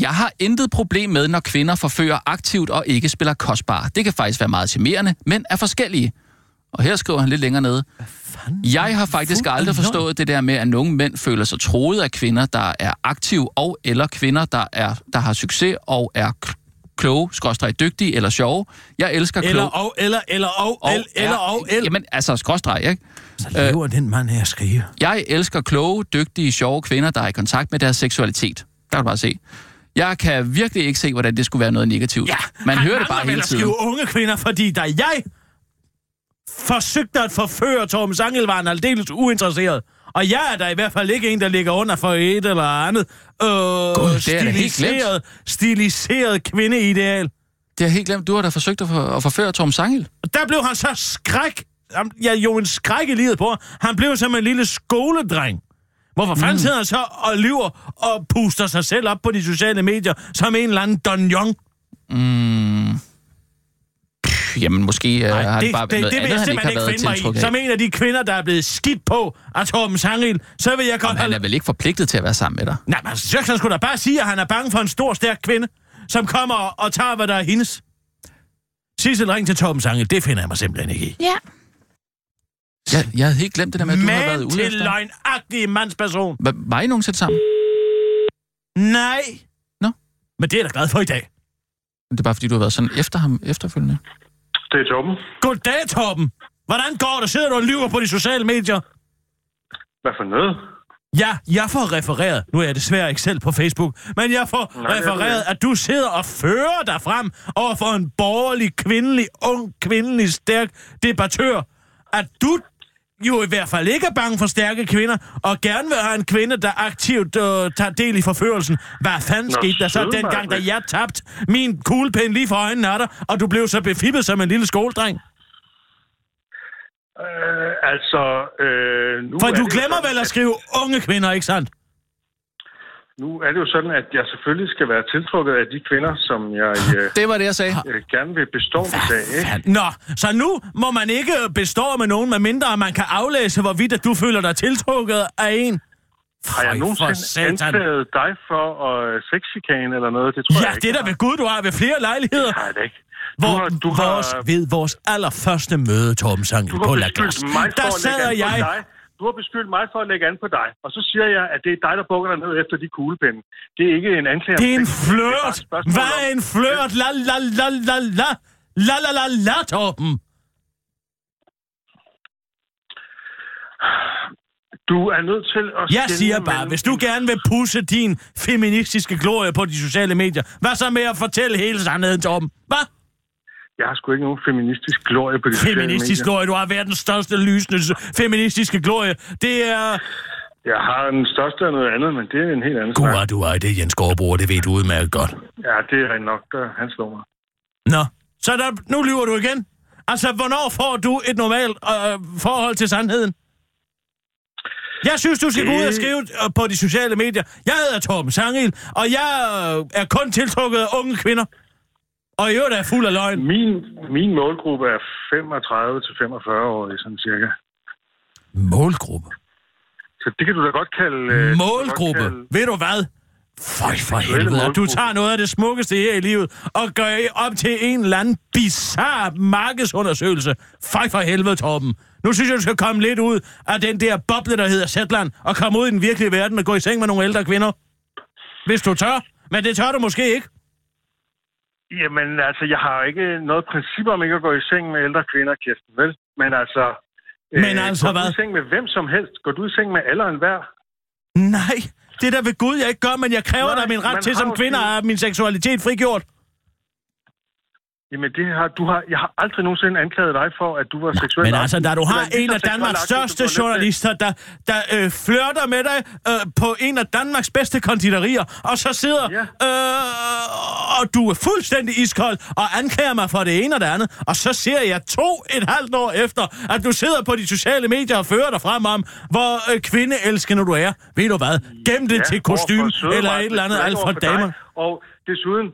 jeg har intet problem med, når kvinder forfører aktivt og ikke spiller kostbar. Det kan faktisk være meget charmerende, men er forskellige. Og her skriver han lidt længere nede. Jeg har faktisk
Fuld af
aldrig
løgn.
forstået det der med, at nogle mænd føler sig troet af kvinder, der er aktive, og eller kvinder, der, er, der har succes og er k- kloge, skråstreg dygtige eller sjove. Jeg elsker
Eller
kloge.
og, eller, eller og, el, eller
er-
og, el.
Jamen, øh, altså skråstreg, ikke?
Så lever den mand her at skrive.
Jeg elsker kloge, dygtige, sjove kvinder, der er i kontakt med deres seksualitet. Der kan du bare se. Jeg kan virkelig ikke se, hvordan det skulle være noget negativt. Man hører det bare hele tiden.
Han skrive unge kvinder, fordi da jeg forsøgte at forføre Torben Sangel, var han aldeles uinteresseret. Og jeg er da i hvert fald ikke en, der ligger under for et eller andet øh, God,
det er jeg da helt glemt.
stiliseret, stiliseret kvindeideal.
Det har jeg helt glemt. Du har da forsøgt at, for, at forføre Tom Sangel.
Og der blev han så skræk. Jamen, Ja, jo, en skræk i livet på. ham. Han blev som en lille skoledreng. Hvorfor
Mm.
fanden sidder han så og lyver og puster sig selv op på de sociale medier som en eller anden Don Jong?
Jamen, måske Nej, Øh, har
Nej,
det
det,
bare
det, det,
noget
det vil jeg
andet, han ikke har
simpelthen
været
ikke finde mig i.
tiltrukket
Som
af.
en af de kvinder, der er blevet skidt på af Torben Sangel, så vil jeg godt
Han
holde...
er vel ikke forpligtet til at være sammen med dig?
Nej, men så skal han sgu da bare sige, at han er bange for en stor, stærk kvinde, som kommer og, og tager, hvad der er hendes. Sissel, ring til Torben Sangel. Det finder jeg mig simpelthen ikke i.
Ja.
Jeg, jeg havde helt glemt det der med, at du havde været
Men
ude
til
efter.
løgnagtig mandsperson.
Hva, var I nogensinde sammen?
Nej.
Nå.
Men det er jeg da glad for i dag.
Det er bare, fordi du har været sådan efter ham efterfølgende.
Det er Torben.
Goddag, Torben. Hvordan går det? Sidder du og lyver på de sociale medier?
Hvad for noget?
Ja, jeg får refereret, nu er jeg desværre ikke selv på Facebook, men jeg får
Nej, det er
refereret,
det.
at du sidder og fører dig frem over for en borgerlig, kvindelig, ung, kvindelig, stærk debattør, at du jo i hvert fald ikke er bange for stærke kvinder, og gerne vil have en kvinde, der aktivt øh, tager del i forførelsen. Hvad fanden
Nå,
skete der så
sød,
dengang, da
Margrethe.
jeg tabte min kuglepen lige for øjnene af dig, og du blev så befippet som en lille skoledreng?
Øh, altså, øh, nu
For
er
du
det jo
glemmer
sådan,
vel at skrive unge kvinder, ikke sandt?
Nu er det jo sådan, at jeg selvfølgelig skal være tiltrukket af de kvinder, som jeg
Ah.
øh,
Det var det, jeg sagde.
øh, gerne vil bestå i dag. Ikke?
Nå, så nu må man ikke bestå med nogen, medmindre man kan aflæse, hvorvidt at du føler dig tiltrukket af en.
Har jeg
Føj for
nogensinde
satan.
anklaget dig for øh, sexchikane eller noget? Det tror
Ja,
jeg ikke.
det er der ved Gud, du har ved flere lejligheder.
Nej, det er ikke. Du
Hvor,
har, du
vores,
har,
Ved vores allerførste møde, Torben Sangen,
du har
på La Glas.
beskyldt mig for
Der
at lægge
sad
an på
jeg...
dig. Du har beskyldt mig for at lægge an på dig. Og så siger jeg, at det er dig, der bukker dig ned efter de kuglepinde. Det er ikke en anklage. om
Det er en
sex. bare
flørt!
et spørgsmål
Hvad er
om-
en flørt? La la la la la! La la la la, Torben!
Du er nødt til at...
Jeg
skelne
siger bare,
mellem
hvis du
en-
gerne vil pusse din feministiske glorie på de sociale medier, hvad så med at fortælle hele sandheden, Torben? Hvad?
Jeg har sgu ikke nogen feministisk glorie på de sociale
Feministisk
medier.
glorie, du har været den største lysende s- feministiske glorie. Det er...
Jeg har den største af noget andet, men det er en helt anden snak.
Gud, du er det, Jens Gårdbro, og det ved du udmærket godt.
Ja, det er rent nok, der han slår mig.
Nå, så der, nu lyver du igen. Altså, hvornår får du et normalt øh, forhold til sandheden? Jeg synes, du skal gå ud og skrive øh, på de sociale medier. Jeg hedder Torben Sangel, og jeg øh, er kun tiltrukket af unge kvinder. Og i øvrigt er fuld af løgn.
Min, min målgruppe er 35-45 år, sådan cirka.
Målgruppe.
Så det kan du da godt kalde... øh, du kan
Målgruppe.
godt kalde-
Ved du hvad? Føj for
Seksuelle
helvede. at Du
målgruppe.
tager noget af det smukkeste her i livet og gør I op til en eller anden bizarre markedsundersøgelse. Føj for helvede, Torben. Nu synes jeg, du skal komme lidt ud af den der boble, der hedder Zetland, og komme ud i den virkelige verden og gå i seng med nogle ældre kvinder. Hvis du tør. Men det tør du måske ikke.
Jamen, altså, jeg har jo ikke noget princip om ikke at gå i seng med ældre kvinder, Kirsten, vel? Men altså...
Men altså
går
hvad?
du i seng med hvem som helst? Går du i seng med alle og enhver?
Nej, det er der ved Gud, jeg ikke gør, men jeg kræver
Nej,
dig min ret
man
til
har
som
jo
kvinde
sin-
at have min seksualitet frigjort.
Jamen, det har, du har, jeg har aldrig nogensinde anklaget dig for, at du var seksuel.
Men altså, da du
aktiv.
har
Det er da
en af
lige så
Danmarks
seksuel aktiv,
største
som du har lyst til.
journalister, der, der øh, flørter med dig øh, på en af Danmarks bedste konditorier, og så sidder øh, og du er fuldstændig iskold og anklager mig for det ene og det andet, og så ser jeg to et halvt år efter, at du sidder på de sociale medier og fører dig frem om, hvor øh, kvindeelskende du er. Ved du hvad? Gem det ja, til
overfor
kostume
søde
eller
Martin
et eller andet
Skræk
Alfred
overfor dig.
Damer.
Og desuden,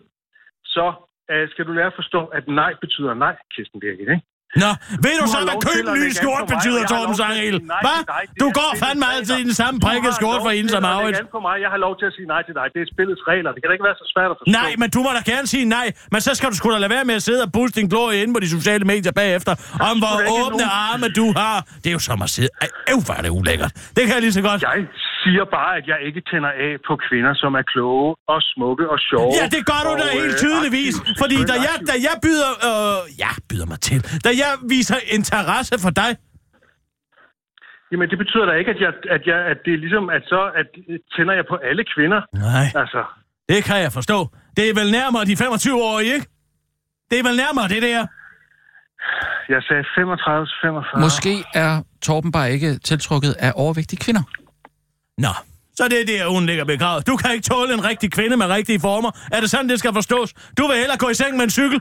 så øh, skal du lære at forstå, at nej betyder nej, Kirsten Birgit, ikke?
Nå, ved du,
Du
så,
har
hvad
lov til
køb
at
en ny
lægge an
skjort
på mig, og
betyder,
jeg har
Torben
lov til at
Sangel?
sige nej
Hvad?
til dig. Det
Du
er
går
spillets
fandme altid i
regler.
den samme
Du
prikkede
har
skjort
lov
for hende
til
som
at lægge
Arvind.
an på mig. Jeg har lov til at sige nej til dig. Det er spillets regler. Det kan da ikke være så svært at forstå.
Nej, men du må da gerne sige nej. Men så skal du sgu da lade være med at sidde og booste din glorie inde på de sociale medier bagefter. Om hvor
da ikke
åbne
nogen-
arme du har. Det er jo som at sidde... Ej, øv, hvor er det ulækkert. Det kan jeg lige så godt.
Jeg siger bare, at jeg ikke tænder af på kvinder, som er kloge og smukke og sjove.
Ja, det gør du da
og,
helt
øh,
tydeligvis.
aktive.
Fordi da
Selvfølgelig
jeg, da
aktive.
jeg byder... Øh, jeg byder mig til. Da jeg viser interesse for dig,
Jamen, det betyder da ikke, at, jeg, at, jeg, at det er ligesom, at så at, øh, tænder jeg på alle kvinder.
Nej.
Altså,
det kan jeg forstå. Det er vel nærmere de 25-årige, ikke? Det er vel nærmere det der.
jeg sagde 35-45.
Måske er Torben bare ikke tiltrukket af overvægtige kvinder.
Nå, så det er der, hun ligger begravet. Du kan ikke tåle en rigtig kvinde med rigtige former. Er det sådan, det skal forstås? Du vil hellere gå i seng med en cykel?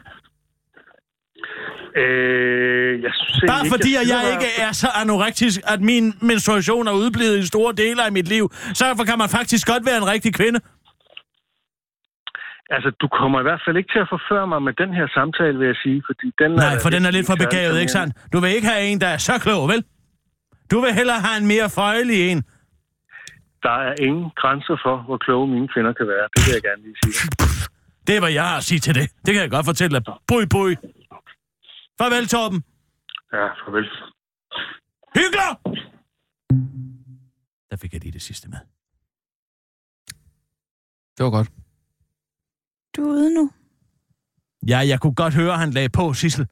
Øh, jeg synes egentlig
Bare
ikke,
fordi, at
siger
jeg
bare-
ikke er så anorektisk, at min menstruation er udblevet i store dele af mit liv, så derfor kan man faktisk godt være en rigtig kvinde.
Altså, du kommer i hvert fald ikke til at forføre mig med den her samtale, vil jeg sige, fordi den er...
Nej, for den er lidt for
særlig
begavet, ikke sandt?
charmerende.
Du vil ikke have en, der er så klog, vel? Du vil hellere have en mere føjelig en.
Der er ingen grænser for, hvor kloge mine kvinder kan være. Det vil jeg gerne lige sige.
Det er, hvad jeg har at sige til det. Det kan jeg godt fortælle dig. Bui, bui. Farvel, Torben.
Ja, farvel.
Hyggelig! Der fik jeg lige det sidste med.
Det var godt.
Du er ude nu.
Ja, jeg kunne godt høre, at han lagde på, Sissel.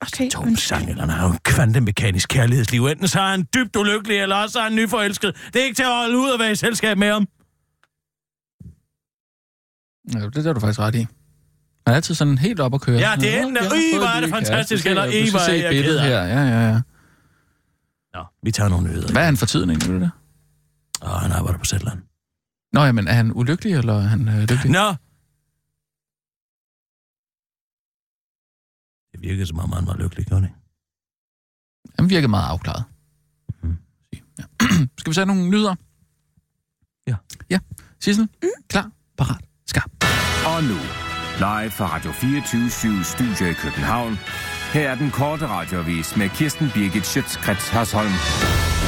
Okay,
Torben Sangel, han har jo en kvantemekanisk kærlighedsliv. Enten så er han dybt ulykkelig, eller også er han nyforelsket. Det er ikke til at holde ud og være i selskab med ham.
Ja, det er du faktisk ret i. Man er altid sådan helt op at køre.
Ja, det er enten,
jeg har
"Ih,
fået
hvor er
lige
det fantastisk,"
kæreste.
eller,
Du skal
"Ih, hvor
se
er jeg ked
billedet
af
her. Ja, ja, ja.
Nå, vi tager nogle nyheder.
Hvad er han for tiden egentlig, ved du det?
Åh, han arbejder på Sætland.
Nå, jamen, er han ulykkelig, eller er han øh, lykkelig?
Nå! Det virkede som om, han var lykkelig, gjorde det ikke?
Han virker meget afklaret.
Mhm.
Ja. Skal vi så have nogle nyheder?
Ja.
Ja. Sissel, klar, parat, skarp.
Og nu, live fra Radio 24 Studio i København. Her er den korte radiovis med Kirsten Birgit Schøtzgrads Hasholm.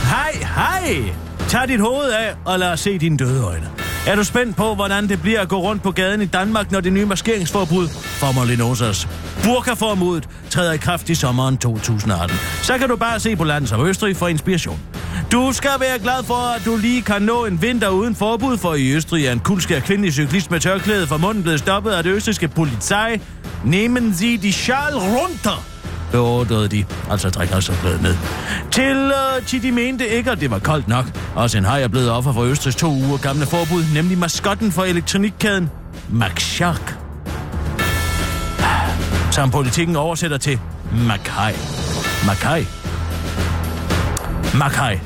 Hej, hej! Tag dit hoved af, og lad os se dine døde øjne. Er du spændt på, hvordan det bliver at gå rundt på gaden i Danmark, når det nye maskeringsforbud, formolinoses, burkaformodet, træder i kraft i sommeren 2018? Så kan du bare se på landet som Østrig for inspiration. Du skal være glad for, at du lige kan nå en vinter uden forbud, for i Østrig er en kulskær kvindelig cyklist med tørklæde for munden blevet stoppet af det østrigske politi. Nehmen Sie die Schal runter! beordrede de, altså trækkersopladet med. Til, øh, til de mente ikke, at det var koldt nok. Også en haj er blevet offer for Østrigs to uger gamle forbud, nemlig maskotten for elektronikkæden Max Shark. Som politikken oversætter til Makai. Makai. Makai.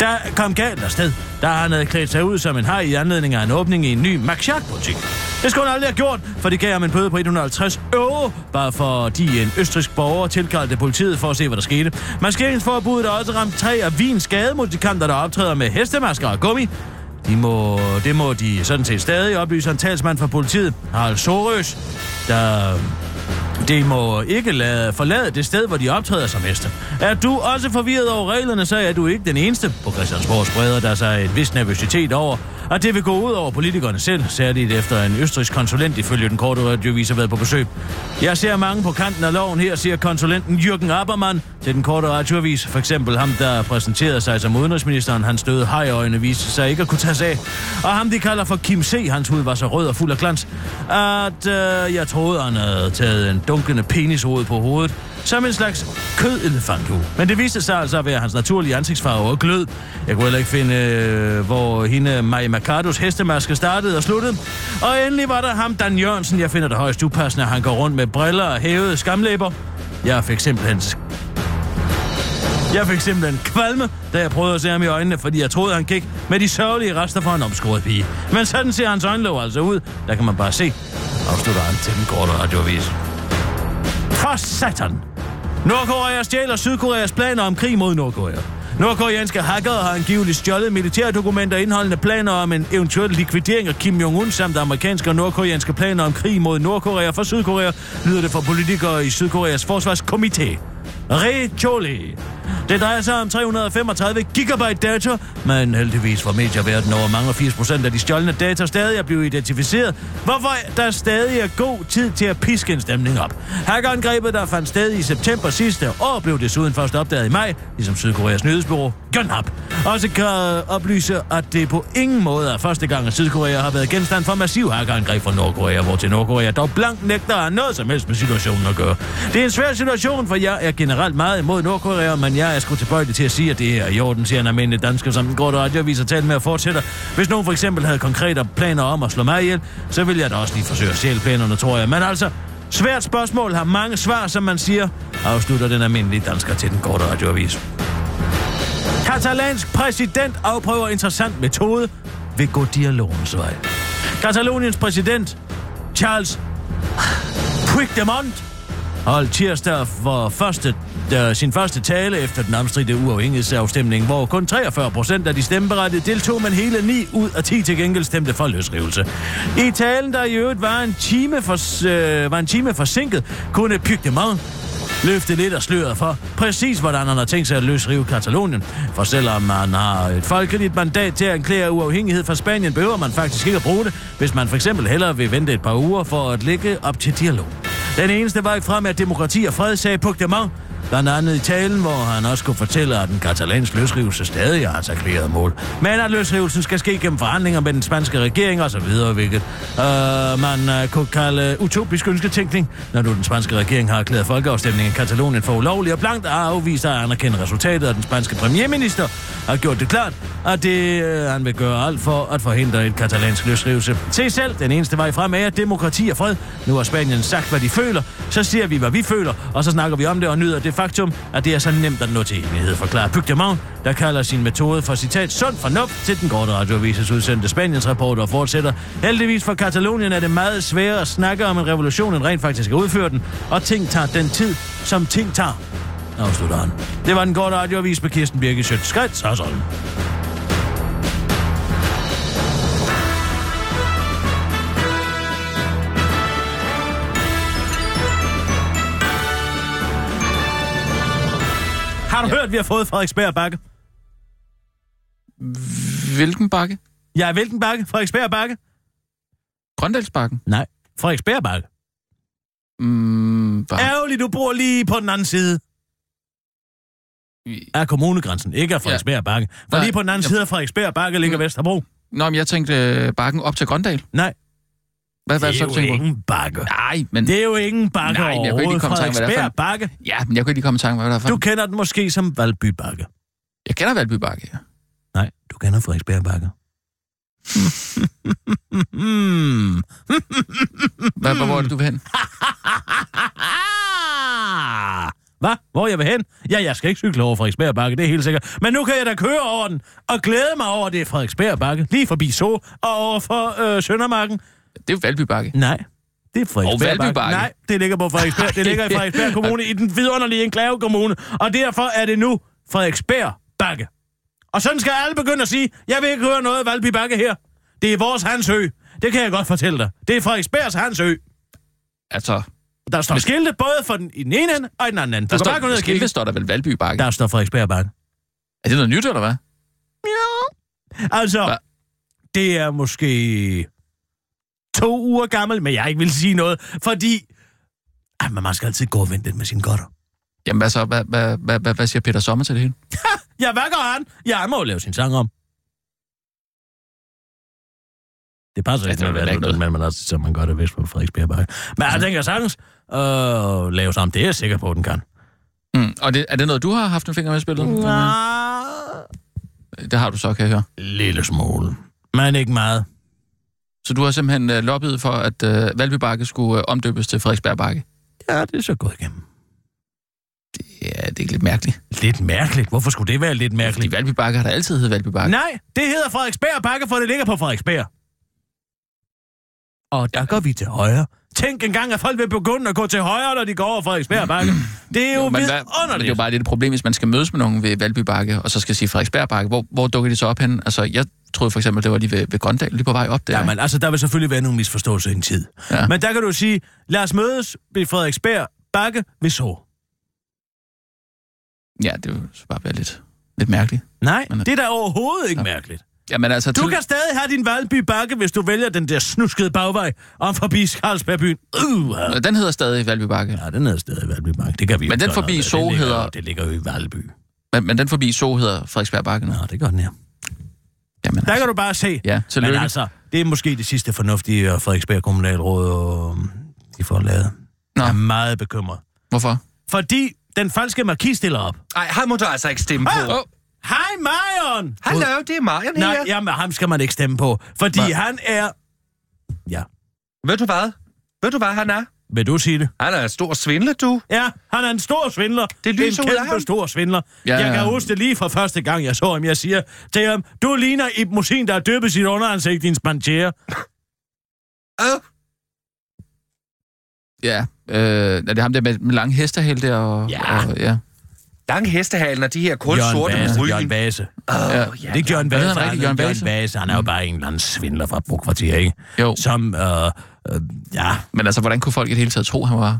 Der kom galt afsted, da han havde klædt sig ud som en haj i anledning af en åbning i en ny Maxjak-butik. Det skulle han aldrig have gjort, for det gav ham en bøde på 150 euro, bare fordi en østrisk borger tilkaldte politiet for at se, hvad der skete. Maskeringsforbuddet har også ramt tre af Wiens gademusikanter, der optræder med hestemasker og gummi. De må, det må de sådan set stadig oplyse en talsmand fra politiet, Harald Sorøs, der de må ikke lade forlade det sted, hvor de optræder som heste. Er du også forvirret over reglerne, så er du ikke den eneste. På Christiansborg spreder der sig en vis nervøsitet over, at det vil gå ud over politikerne selv, særligt efter en østrigsk konsulent ifølge den korte radiovis har været på besøg. Jeg ser mange på kanten af loven her, siger konsulenten Jürgen Abermann til den korte radiovis. For eksempel ham, der præsenterede sig som udenrigsministeren, hans døde hajøjne viste sig ikke at kunne tages af. Og ham, de kalder for Kim C., hans hud var så rød og fuld af glans, at øh, jeg troede, han havde taget en dunkende penishoved på hovedet, som en slags kødelefantue. Men det viste sig altså at være hans naturlige ansigtsfarve og glød. Jeg kunne heller ikke finde, øh, hvor hende Maja Mercados hestemaske startede og sluttede. Og endelig var der ham, Dan Jørgensen. Jeg finder det højst upassende, at han går rundt med briller og hævede skamlæber. Jeg fik simpelthen jeg fik simpelthen kvalme, da jeg prøvede at se ham i øjnene, fordi jeg troede, han gik med de sørgelige rester for en omskåret pige. Men sådan ser hans øjenlåg altså ud. Der kan man bare se. Afslutter han til den korte radioavis. For satan! Nordkorea stjæler Sydkoreas planer om krig mod Nordkorea. Nordkoreanske hackere har angiveligt stjålet militærdokumenter indholdende planer om en eventuel likvidering af Kim Jong-un samt amerikanske og nordkoreanske planer om krig mod Nordkorea fra Sydkorea, lyder det fra politikere i Sydkoreas forsvarskomité. Recholi. Det drejer sig om 335 gigabyte data, men heldigvis for medier verden over mange 80 procent af de stjålne data stadig er blevet identificeret, hvorfor der stadig er god tid til at piske en stemning op. Hackerangrebet, der fandt sted i september sidste år, blev desuden først opdaget i maj, ligesom Sydkoreas nyhedsbureau Yonhap. Også kan oplyse, at det på ingen måde er første gang, at Sydkorea har været genstand for massiv hackerangreb fra Nordkorea, hvor til Nordkorea dog blank nægter at have noget som helst med situationen at gøre. Det er en svær situation, for jeg er generelt meget imod Nordkorea, men jeg er sgu tilbøjelig til at sige, at det er i orden, siger en almindelig dansker, som den korte radioavis har talt med og fortsætter. Hvis nogen for eksempel havde konkrete planer om at slå mig ihjel, så ville jeg da også lige forsøge at sjæle planerne, tror jeg. Men altså, svært spørgsmål har mange svar, som man siger, afslutter den almindelige dansker til den korte radioavis. Katalansk præsident afprøver interessant metode ved gå dialogens vej. Kataloniens præsident, Charles Puigdemont, holdt tirsdag for første, der, sin første tale efter den omstridte uafhængighedsafstemning, hvor kun 43 procent af de stemmeberettigede deltog, men hele 9 ud af 10 til gengæld stemte for løsrivelse. I talen, der i øvrigt var en time, for, øh, var en time forsinket, kunne Puigdemont løfte lidt af sløret for, præcis hvordan han har tænkt sig at løsrive Katalonien. For selvom man har et folkeligt mandat til at erklære uafhængighed fra Spanien, behøver man faktisk ikke at bruge det, hvis man for eksempel hellere vil vente et par uger for at ligge op til dialog. Den eneste vej frem er demokrati og fred, sagde Puigdemont, blandt andet i talen, hvor han også kunne fortælle, at den katalanske løsrivelse stadig har hans erklærede mål. Men at løsrivelsen skal ske gennem forhandlinger med den spanske regering osv., hvilket øh, man øh, kunne kalde utopisk ønsketænkning, når nu den spanske regering har erklæret folkeafstemningen i Katalonien for ulovlig og blankt har afvist at anerkende resultatet, og den spanske premierminister har gjort det klart, at det, øh, han vil gøre alt for at forhindre et katalansk løsrivelse. Se selv, den eneste vej frem er demokrati og fred. Nu har Spanien sagt, hvad de føler, så siger vi, hvad vi føler, og så snakker vi om det og nyder det faktum, at det er så nemt at nå til enighed, forklarer Puigdemont, der kalder sin metode for citat sund fornuft til den korte radioavises udsendte Spaniens reporter og fortsætter. Heldigvis for Katalonien er det meget sværere at snakke om en revolution, end rent faktisk at udføre den, og ting tager den tid, som ting tager. afslutter han. Det var den korte radioavis med Kirsten Birke Sjøtskrets og sådan. Har du ja. hørt, vi har fået Frederiksberg Bakke?
Hvilken bakke?
Ja, hvilken bakke? Frederiksberg Bakke?
Grøndalsbakken?
Nej. Frederiksberg Bakke.
Mm, bare...
Ærgerligt, du bor lige på den anden side af kommunegrænsen, ikke af Frederiksberg Bakke. For
Nej,
lige på den anden
jeg-
side af Frederiksberg Bakke ligger
Mm.
Vesterbro.
Nå, men jeg tænkte øh, bakken op til Grøndal.
Nej,
Hvad, hvad
det
så,
er
du
jo
tænker på?
ingen bakke.
Nej, men,
Det er jo ingen bakke
Nej, men jeg kunne ikke
overhovedet.
lige komme i tanke om, hvad det er for
Frederiksberg
en-
Bakke.
ja, men jeg kunne ikke lige komme i tanke med, hvad der er for.
Du kender den måske som Valby Bakke.
Jeg kender Valby Bakke, ja.
Nej, du kender Frederiksberg Bakke. Hmm.
Hvad, hvor er det, du vil hen?
Hvad? Hvor jeg vil hen? Ja, jeg skal ikke cykle over Frederiksberg Bakke, det er helt sikkert. Men nu kan jeg da køre over den og glæde mig over, at det er Frederiksberg Bakke. Lige forbi Så og over for øh, Søndermarken.
Det er jo Valby Bakke.
Nej, det er Frederiksberg
Og Valby Bakke.
Nej, det ligger på Frederiksberg. Det ligger i Frederiksberg Kommune, i den vidunderlige enklave kommune. Og derfor er det nu Frederiksberg Bakke. Og sådan skal alle begynde at sige, jeg vil ikke høre noget af Valby Bakke her. Det er vores Hansø. Det kan jeg godt fortælle dig. Det er Frederiksbergs Hansø.
Altså,
Der står skilte både for den, i den ene ende og i den anden ende. Du
der
kan bare gå ned
står,
og kigge.
skilte står der vel Valby Bakke.
Der står Frederiksberg Bakke.
Er det noget nyt, eller hvad?
Altså,
Hva?
det er måske to uger gammel, men jeg ikke vil sige noget, fordi... Ej, men man skal altid gå og vente lidt med sine godter.
Jamen, hvad så? Hvad, hvad, hvad, hvad, hvad siger Peter Sommer til det hele?
Ja, hvad gør han? Ja, han må jo lave sin sang om. Det passer
Ja,
ikke
det
med,
vil da
hvad
ikke
det
noget.
men man også, så man gør det vist på Frederiksberg Bakke. Men jeg tænker sagtens, øh, lave sammen. Det er jeg sikker på, den kan.
Mm. Og det, er det noget, du har haft en finger med i spillet? Det har du så, kan jeg høre.
Lille smule. Men ikke meget.
Så du har simpelthen øh, lobbyet for, at øh, Valby Bakke skulle øh, omdøbes til Frederiksberg Bakke.
Ja, det er så gået igennem.
Ja, det er ikke lidt mærkeligt.
Lidt mærkeligt. Hvorfor skulle det være lidt
Fordi
mærkeligt?
Valby Bakke har da altid heddet Valby Bakke.
Nej, det hedder Frederiksberg Bakke, for det ligger på Frederiksberg. Og der går vi til højre. Tænk engang, at folk vil begynde at gå til højre, når de går over Frederiksberg Bakke. Det er jo, jo
men hvad- men det er jo
vidunderligt.
bare lidt et problem, hvis man skal mødes med nogen ved Valby Bakke, og så skal sige Frederiksberg Bakke. Hvor, hvor dukker de så op hen? Altså, jeg troede for eksempel, det var lige ved, ved Grøndal, lige på vej op der.
Ja, men altså, der vil selvfølgelig være nogle misforståelser i en tid.
Ja.
Ja. Men der kan du sige, lad os mødes ved Frederiksberg Bakke ved så.
ja det ville så bare være lidt, lidt mærkeligt.
Nej,
Men-
det er da overhovedet ikke ja. mærkeligt.
Jamen altså,
Du
til-
kan stadig have din Valby Bakke, hvis du vælger den der snuskede bagvej om forbi Skarlsbergbyen. Uh, ja.
Den hedder stadig Valby Bakke.
ja, den hedder stadig Valby Bakke. Det kan vi jo
Men
ikke
den
gøre
forbi
noget ved.
So
Det ligger jo-
hedder-
Det ligger jo i Valby.
Men, men den forbi så hedder Frederiksberg Bakke nu.
Nå, det gør den her.
Jamen,
Der
altså.
kan du bare se.
Ja,
Men
tillykke. Altså...
altså, det er måske det sidste fornuftige, og Frederiksberg Kommunalråd og øhm, de får lavet.
Nå.
Jeg er meget bekymret.
Hvorfor?
Fordi den falske markis stiller op.
Ej, ham må du altså ikke stemme på.
Åh, oh,
Hej, Marion!
Hallo, det er Marian
Ah! Nej,
her.
jamen, ham skal man ikke stemme på, fordi
Hva?
han er... Ja,
Ved du hvad? Ved du hvad han er?
vil du sige det?
Han er en stor svindler, du.
Ja, han er en stor svindler.
Det
det
lyser
er
ud
en
af
kæmpe
ham.
stor svindler.
Ja,
Ja, jeg
ja.
kan huske det lige fra første gang, jeg så ham. Jeg siger til ham, du ligner Ibn Musin, der har døbet sit underansigt i en spangere.
Åh, oh,
ja. Øh, er det ham der med, med lange hestehæl der? Og,
Ja.
Og, ja.
lange hestehalen og de her kul sorte med
Vase, Jørgen
ryggen.
Vase.
ja.
Ja, det er Jørgen
Hvad
Vase.
hedder han rigtig?
er
Jørgen Vase?
Jørgen Vase. Han er jo bare en eller anden svindler fra Brokvartier, ikke?
Jo,
Som, øh, øh, ja,
men altså, hvordan kunne folk i det hele taget tro, han var...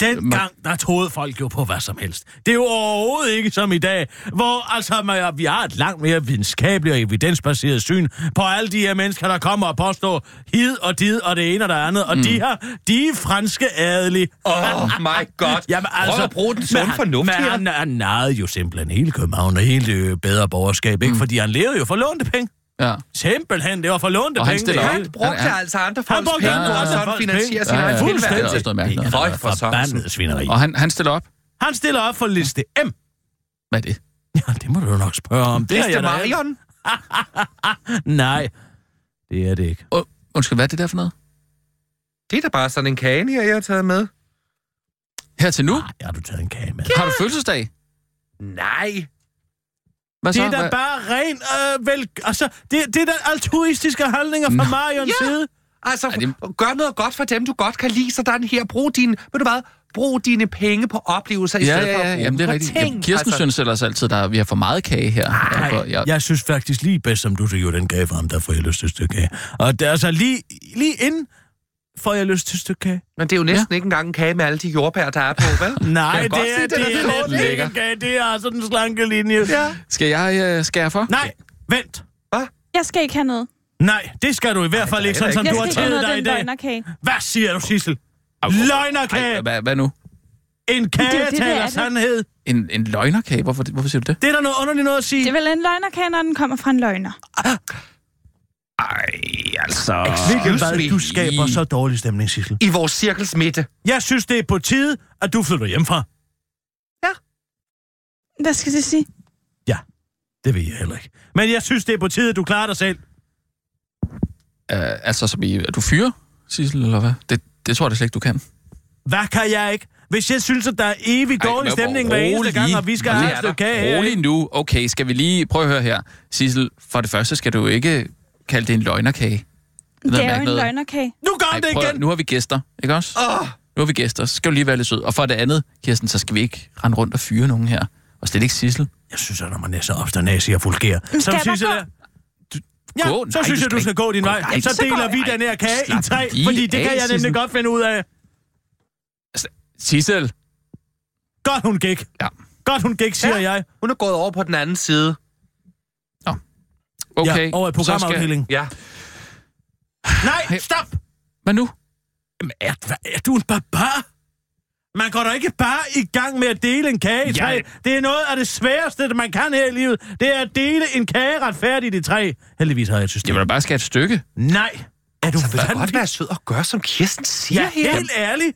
Dengang, der troede folk jo på hvad som helst. Det er jo overhovedet ikke som i dag, hvor altså, man, vi har et langt mere videnskabeligt og evidensbaseret syn på alle de her mennesker, der kommer og påstår hid og did og det ene og det andet. Og mm. de her, de er franske adelige.
Åh, oh my god.
altså,
Prøv at bruge den sunde
men han-
fornuft
men
her.
han, han narrede jo simpelthen hele København og hele det bedre borgerskab, ikke? Mm. Fordi han levede jo for lånte penge.
Ja.
Simpelthen, det var for lånte
Og han
penge.
stiller
det
op.
hele.
Han brugte
Han- han-
altså andre
Han
folks
brugte
penge,
andre
og
folks
sådan
penge.
finansierer sin
Ja,
egen Altså,
ja.
Fuldstændig.
Det
tilværelse.
er også noget mærkeligt noget.
Føj for sørensen.
forbandet svineri.
Og han, han stiller op.
Han stiller op for liste M.
Hvad er det?
Ja, det må du jo nok spørge om.
Det
har
er
jeg da
Marion.
ikke. Nej, det er det ikke.
Oh, undskyld, hvad er det der for noget?
Det er da bare sådan en kage her, jeg har taget med.
Her til nu?
Nej, har du taget en kage med?
Har du fødselsdag?
Nej.
Hvad så?
Det er da
Hvad-
bare ren, øh, vel, altså, det, det er da altruistiske handlinger fra Marions
Ja.
side.
Altså,
det-
gør noget godt for dem, du godt kan lide, så der er den her. Brug din, ved du hvad, Brug dine penge på oplevelser i
Ja,
stedet for
ja,
at
ja.
bruge
Jamen, det
dem på
er rigtigt.
ting.
Jamen, Kirsten altså... synes ellers altid, at vi har for meget kage her. Nej, jeg, jeg,
Jeg synes faktisk lige bedst, som du siger, den gave frem, der får jeg lyst til et stykke kage. Og det er altså lige, lige inden får jeg lyst til et stykke kage.
Men det er jo næsten ja. ikke engang en kage med alle de jordbær, der er på, vel?
Nej,
Kan jeg
det
godt
er,
se,
det,
den er
er,
sort,
det er
ikke?
ikke kage. Det er altså den slanke linje. Ja.
Skal jeg øh, skære for?
Nej, vent.
Jeg skal ikke have noget.
Nej, det skal du i hvert fald
det
ikke,
er
sådan som
Jeg
du har
skal ikke have
taget
noget
dig
af
i
den
dag.
løgnerkage.
Hvad siger du, Sissel?
Ej,
Løgnerkage!
hvad, hvad nu?
En
det er
kage
det, det er
taler
det.
sandhed.
En, en løgnerkage? Hvorfor, hvorfor siger du det?
Det er der noget underligt noget at sige.
Det er vel en løgnerkage, når den kommer fra en løgner.
Ej, altså...
Hvilket
Excuse
hvad,
me.
du skaber så dårlig stemning, Sissel.
I vores cirkels midte.
Jeg synes, det er på tide, at du flytter hjemmefra.
Hvad skal det sige?
Det ved jeg heller ikke. Men jeg synes, det er på tide, at du klarer dig selv.
Øh, altså, som i, er du fyre, Sissel, eller hvad? Det, det tror jeg da slet ikke, du kan.
Hvad kan jeg ikke? Hvis jeg synes, at der er evig dårlig
men hvor
stemning hver eneste
rolig.
gang, og vi skal
Rolig
have
er
et
der.
stykke kage
Rolig
her,
nu. Okay, skal vi lige prøve at høre her. Sissel, for det første skal du ikke kalde det en løgnerkage. ved
Det
jeg
er
ikke
jo en
noget.
løgnerkage.
nu gør
Ej,
det
prøv,
igen!
nu har vi gæster, ikke også? Oh. Nu har vi gæster, så skal du lige være lidt sød. Og for det andet, Kirsten, så skal vi ikke rende rundt og fyre nogen her. Og slet ikke Sissel.
Jeg synes, at når man er så ofte nazi og vulgær, som
jeg bare
Sissel
gå?
er... Du- Ja,
Gå?
så
Nej,
synes
du
jeg, du
skal
skal
ikke.
gå din
Gå.
vej.
Nej,
så
så
deler
går
vi
jeg.
den her kage i
Slap
tre,
lige
fordi det
af,
kan jeg nemlig
Sissel.
godt finde ud af. Altså,
Sissel!
Godt, hun gik.
Ja.
Godt, hun gik, siger
Ja.
jeg.
Hun er gået over på den anden side.
Okay,
Ja, over i
så skal-
programafdelingen.
Ja.
Nej, stop!
Hvad nu?
Jamen, er, hvad, er du en barbar? Man går da ikke bare i gang med at dele en kage i
Jeg-
tre. Det er noget af det sværeste, man kan her i livet. Det er at dele en kage retfærdigt i tre. Heldigvis har jeg et
Jeg
system.
vil da bare Altså, skære et stykke.
Nej. Er du
Så vil du
vanvittig?
godt være sød og gøre, som Kirsten siger
Ja,
her.
helt ærlig.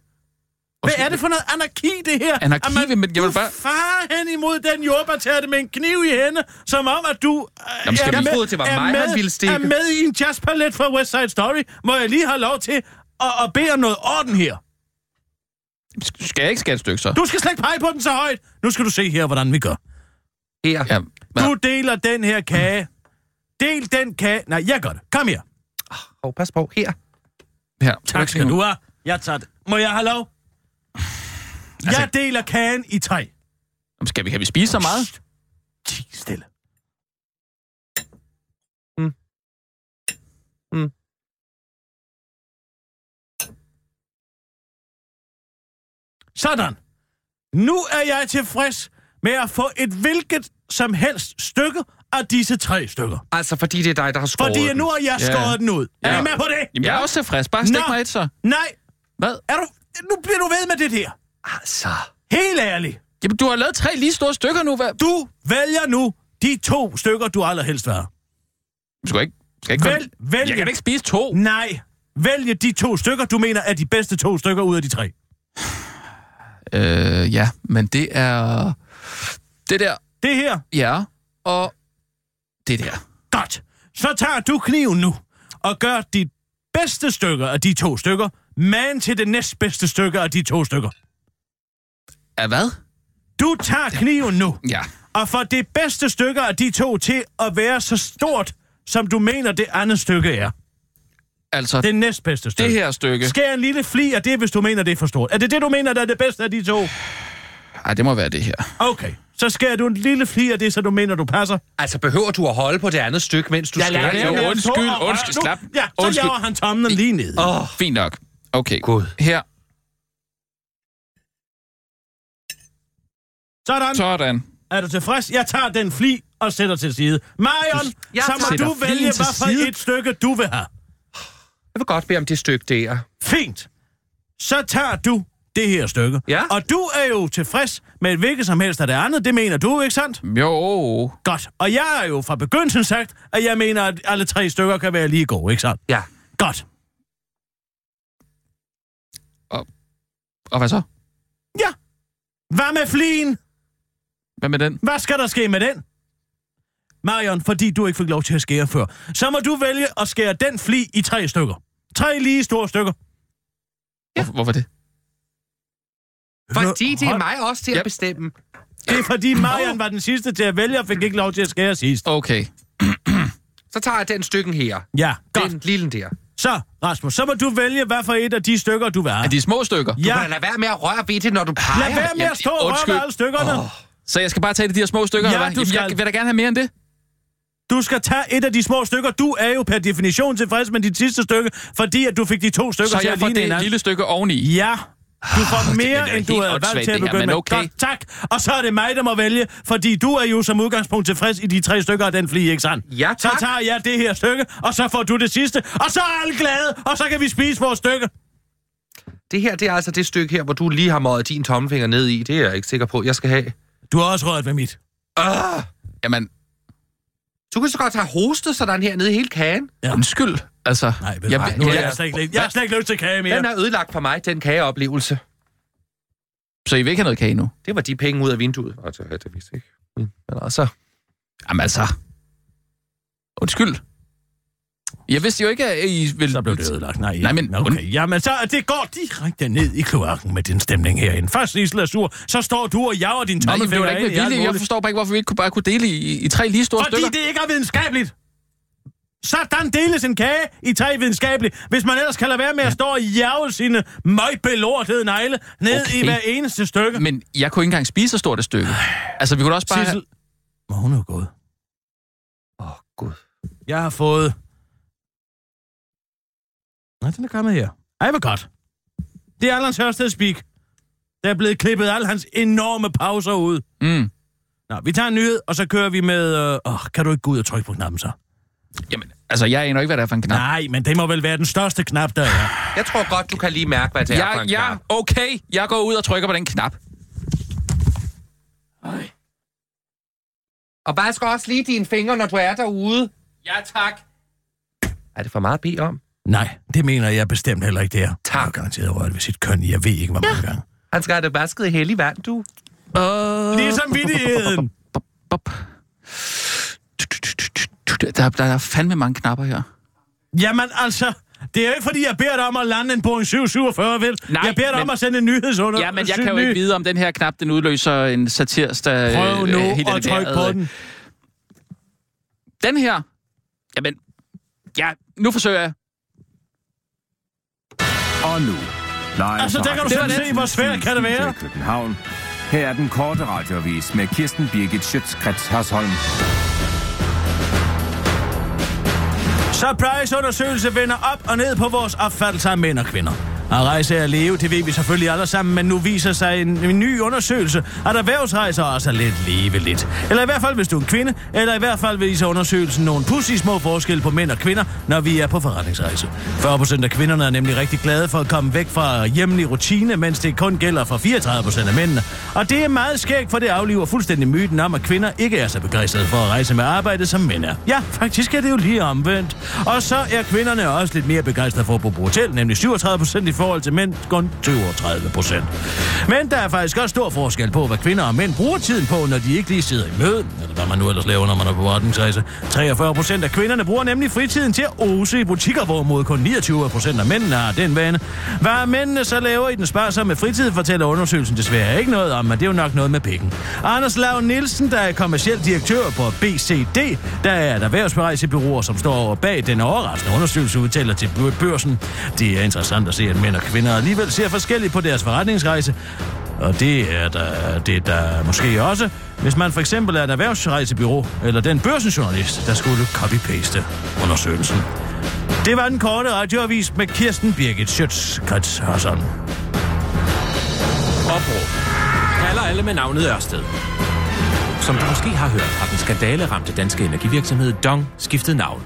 Hvad er det for noget anarki, det her?
Anarki,
At man,
men jeg vil
du
bare-
farer hen imod den jordbærtærte med en kniv i hende, som om, at du øh,
Jamen, skal vi-
er,
Jeg
med,
troede, det var
er,
mig, han ville
med,
stikke.
er med i en jazzpalet fra West Side Story. Må jeg lige have lov til at, at bede om noget orden her?
Sk- Skal jeg ikke skære et stykke, så?
Du skal slet ikke pege på den så højt. Nu skal du se her, hvordan vi gør.
her.
Ja, hvad?
Du deler den her kage. Del den kage. Nej, jeg gør det. Kom her.
Hov, pas på. Her.
her.
Tak skal du have. Jeg tager det. Må jeg have lov?
Altså-
Jeg deler kagen i tre.
Jamen, Skal vi, kan vi spise så meget?
Ti stille.
Mm. Mm.
Sådan. Nu er jeg tilfreds med at få et hvilket som helst stykke af disse tre stykker.
Altså, fordi det er dig, der har skåret
Fordi
den.
nu har jeg
Ja.
skåret den ud. Er
Ja.
I med på det?
Jamen, jeg er også tilfreds. Bare stik
Nå.
mig et, så.
Nej,
Hvad?
er du... Nu bliver du ved med det der.
Altså.
Helt ærligt.
Jamen, du har lavet tre lige store stykker nu. Hvad?
Du vælger nu de to stykker, du allerhelst vil have.
Du skal ikke... Skal ikke
Vælg,
komme-
vælg.
Jeg kan da ikke spise to.
Nej, vælge de to stykker, du mener er de bedste to stykker ud af de tre.
Øh, ja, men det er... Det der,
Det her,
ja, og det der.
godt. Så tager du kniven nu og gør de bedste stykker af de to stykker, men til det næstbedste stykke af de to stykker.
Er hvad?
Du tager kniven nu
Ja.
og får det bedste stykke af de to til at være så stort, som du mener det andet stykke er.
Altså, det,
Det næstbedste stykke.
det her stykke...
Skær en lille fli af det, hvis du mener, det er for stort. Er det det, du mener, der er det bedste af de to?
Ej, det må være det her.
Okay. Så skærer du en lille fli af det, så du mener, du passer.
Altså, behøver du at holde på det andet stykke, mens du skærer?
det
Jo,
være.
jo.
undskyld,
Så-
undskyld,
Nu-
slap.
Ja, så
Undskyld.
laver han tommelen lige ned.
Oh. Fint nok. Okay.
Gud.
Her.
Sådan.
Sådan.
Er du tilfreds? Jeg tager den fli og sætter til side. Marion,
Jeg
så må
tager-
du
sætter
vælge,
flien til
hvad for
side.
et stykke du vil have.
Jeg vil godt bede om det stykke der.
Fint. Så tager du det her stykke.
Ja.
Og du er jo tilfreds med et hvilket som helst af det andet. Det mener du, ikke sandt?
Jo.
Godt. Og jeg har jo fra begyndelsen sagt, at jeg mener, at alle tre stykker kan være lige gode, ikke sandt?
Ja.
Godt.
Og hvad så?
Ja. Hvad med flien?
Hvad med den?
Hvad skal der ske med den? Marion, fordi du ikke fik lov til at skære før, så må du vælge at skære den fli i tre stykker. Tre lige store stykker.
Ja. Hvorfor det?
Fordi det er
Hold-
mig også til
Ja.
at bestemme.
Det er fordi Marion var den sidste til at vælge, og fik ikke lov til at skære sidst.
Okay.
Så tager jeg den stykken her.
Ja, godt.
Den lille der.
Så, Rasmus, så må du vælge, hvad for et af de stykker, du vil have.
Er de små stykker?
Du
Ja,
kan da lade være med at røre ved det, når du peger.
lad være med
Jamen,
at stå og røre
undskyld.
med alle stykkerne.
Så jeg skal bare tage de her små stykker?
Ja,
eller hvad?
du
Jamen,
skal.
Jeg vil da gerne have mere end det.
Du skal tage et af de små stykker. Du er jo per definition tilfreds med dit sidste stykke, fordi at du fik de to stykker
Så
til
jeg
at
får
ligne
det
hinanden.
lille stykke oveni.
Ja. Du får
bliver
mere,
da
end du
helt
havde valgt
åndssvagt,
til at
det her,
begynde
men
med.
okay.
Godt, tak. Og så er det mig, der må vælge, fordi du er jo som udgangspunkt tilfreds i de tre stykker af den flie, ikke sandt?
Ja,
Så
tak.
tager jeg det her stykke, og så får du det sidste, og så er alle glade, og så kan vi spise vores stykke.
Det her, det er altså det stykke her, hvor du lige har møjet din tommelfinger ned i. Det er jeg ikke sikker på, jeg skal have.
Du har også rørt ved mit.
Uh,
Jamen,
du kan så godt have hostet sådan her nede i hele kagen.
Ja.
undskyld. Altså,
Nej, ved du hvad, nu har
jeg,
jeg, slet ikke, jeg har slet ikke lyst til kage
Den
mere.
er ødelagt for mig, den kageoplevelse.
så I vil ikke have noget kage nu?
Det var de penge ud af vinduet. Og det havde vist ikke. Men altså...
Jamen altså. Undskyld. Jeg vidste jo ikke, at I ville...
Så blev det ødelagt. Nej,
Nej, men-
Okay, jamen så det går direkte ned i kloakken med din stemning herinde. Først Isla er sur, så står du og jager din
Nej, det
tommelfinger
var da ikke
ind i
med
alt
vilje. Jeg
muligt.
forstår bare ikke, hvorfor vi ikke kunne bare kunne dele i, i- i tre lige store
Fordi
stykker.
det ikke er videnskabeligt. Sådan deles en kage i tre videnskabeligt, hvis man ellers kan lade være med at stå og jage sine møgbelortede negle ned okay. i
Okay.
hver eneste stykke.
Men jeg kunne ikke engang spise så stort et stykke. Altså, vi kunne da også bare...
Sissel, må hun er gået.
Åh, oh, gud.
Jeg har fået... Nej, den er kommet her. Ej, hvor godt. Det er Allans Hørsted Speak. Der er blevet klippet alle hans enorme pauser ud.
Mm.
Nå, vi tager en nyhed, og så kører vi med... øh, Åh, øh, kan du ikke gå ud og trykke på knappen så?
Jamen, altså, jeg aner ikke, hvad det er for en knap.
Nej, men det må vel være den største knap, der er.
Jeg tror godt, du kan lige mærke, hvad det er for
Ja,
en
ja,
knap.
okay. Jeg går ud og trykker på den knap.
Og bare skal også lige dine fingre, når du er derude.
Ja, tak.
Er det for meget at bede om?
Nej, det mener jeg bestemt heller ikke, det er.
Tak.
Jeg har garanteret rørt ved sit køn, i, jeg ved ikke, hvor mange ja. gange.
Han skal have det vasket i hellig vand, du.
Ligesom vidtigheden.
Øh. Bop, bop. Der, der, der er fandme mange knapper her.
Jamen altså, det er jo ikke, fordi jeg beder dig om at lande en Boeing 747, vel?
Nej,
jeg beder dig om
men-
at sende en nyhedsunder.
Ja, men jeg kan jo ikke vide, om den her knap, den udløser en øh, satirster...
Prøv nu at trykke
øh,
på den.
Den her... Jamen... Ja, nu forsøger jeg.
Og nu. Live
Altså, der kan du
fra
selv se, hvor svært kan det
Mm.
være.
København. Her er den korte radiovis med Kirsten Birgit Schøtzgrads Hasholm.
Surprise-undersøgelse vender op og ned på vores opfattelse af mænd og kvinder. At rejse er at leve, det ved vi selvfølgelig alle sammen, men nu viser sig en, en ny undersøgelse, at erhvervsrejser også er lidt leve lidt. Eller i hvert fald, hvis du er en kvinde, eller i hvert fald viser undersøgelsen nogle pussy små forskelle på mænd og kvinder, når vi er på forretningsrejse. 40% af kvinderne er nemlig rigtig glade for at komme væk fra hjemlig rutine, mens det kun gælder for 34% af mændene. Og det er meget skægt, for det afliver fuldstændig myten om, at kvinder ikke er så begejstrede for at rejse med arbejde, som mænd er. Ja, faktisk er det jo lige omvendt. Og så er kvinderne også lidt mere begejstrede for at bo på hotel, nemlig 37 procent i forhold til mænd, kun 32 procent. Men der er faktisk også stor forskel på, hvad kvinder og mænd bruger tiden på, når de ikke lige sidder i møde, eller hvad man nu ellers laver, når man er på forretningsrejse. 43 procent af kvinderne bruger nemlig fritiden til at ose i butikker, hvorimod kun 29 procent af mændene har den vane. Hvad mændene så laver i den sparsomme fritid, fortæller undersøgelsen desværre ikke noget om, men det er jo nok noget med pikken. Anders Lav Nielsen, der er kommerciel direktør på BCD, der er et erhvervsrejsebureau, som står bag den overraskende undersøgelse, udtaler til børsen. Det er interessant at se, at mænd og kvinder alligevel ser forskelligt på deres forretningsrejse. Og det er der, det er der måske også, hvis man for eksempel er et erhvervsrejsebyrå eller den børsenjournalist, der skulle copy-paste undersøgelsen. Det var den korte radioavis med Kirsten Birgit Schøtz, Krets Hørsson.
Opråb kalder alle med navnet Ørsted. Som du måske har hørt, har den skandaleramte danske energivirksomhed Dong skiftet navn.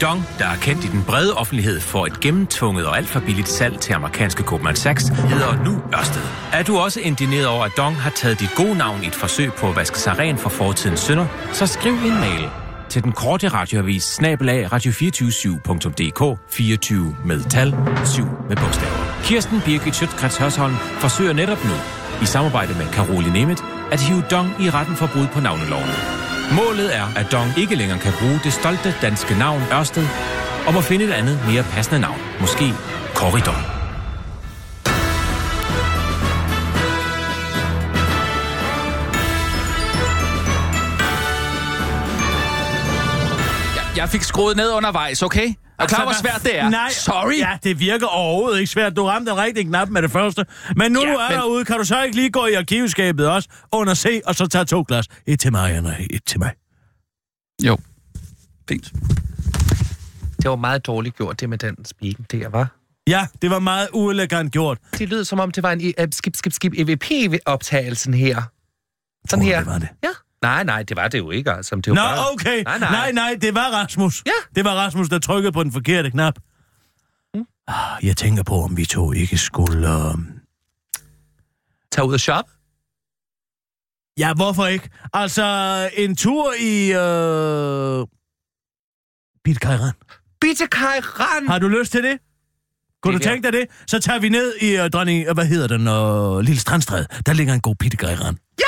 Dong, der er kendt i den brede offentlighed for et gennemtvunget og alt for billigt salg til amerikanske Goldman Sachs, hedder nu Ørsted. Er du også indineret over, at Dong har taget dit gode navn i et forsøg på at vaske sig ren for fortidens synder, så skriv en mail til den korte radioavis snabelag radio247.dk 24 med tal 7 med bogstaver. Kirsten Birgit Schøtzgrads Hørsholm forsøger netop nu, i samarbejde med Caroline Nemeth, at hive Dong i retten for brud på navneloven. Målet er, at Dong ikke længere kan bruge det stolte danske navn Ørsted, og må finde et andet mere passende navn. Måske Corridor.
Jeg, jeg fik skruet ned undervejs, okay? Er du klar, hvor svært det er?
Altså, Nej.
Sorry.
Ja, det virker overhovedet ikke svært. Du ramte den rigtige knap med det første. Men nu ja, du er men... derude, kan du så ikke lige gå i arkivskabet også, under C, og så tage to glas? Et til mig, Anna. Et til mig.
Jo. Fint.
Det var meget dårligt gjort, det med den spiken der, var.
Ja, det var meget uelegant gjort.
Det lød som om, det var en uh, skip, skip, skip EVP-optagelsen her. Sådan
Tror du,
her.
det var det?
Ja. Nej, nej, det var det jo ikke, altså. Det var
Nå,
bare...
okay. Nej
Nej, nej.
nej. nej, nej, det var Rasmus.
Ja.
Det var Rasmus, der trykkede på den forkerte knap. Ah, Jeg tænker på, om vi to ikke skulle... Uh...
Tag ud og shop.
Ja, hvorfor ikke? Altså, en tur i... Øh... Bitkajran.
Bitte Kai Rand!
Har du lyst til det? Kunne
Det
det du
vil
tænke dig det? Så tager vi ned i øh, dronning... øh, Hvad hedder den? Øh, Lille Strandstræde. Der ligger en god bitkajran.
Ja!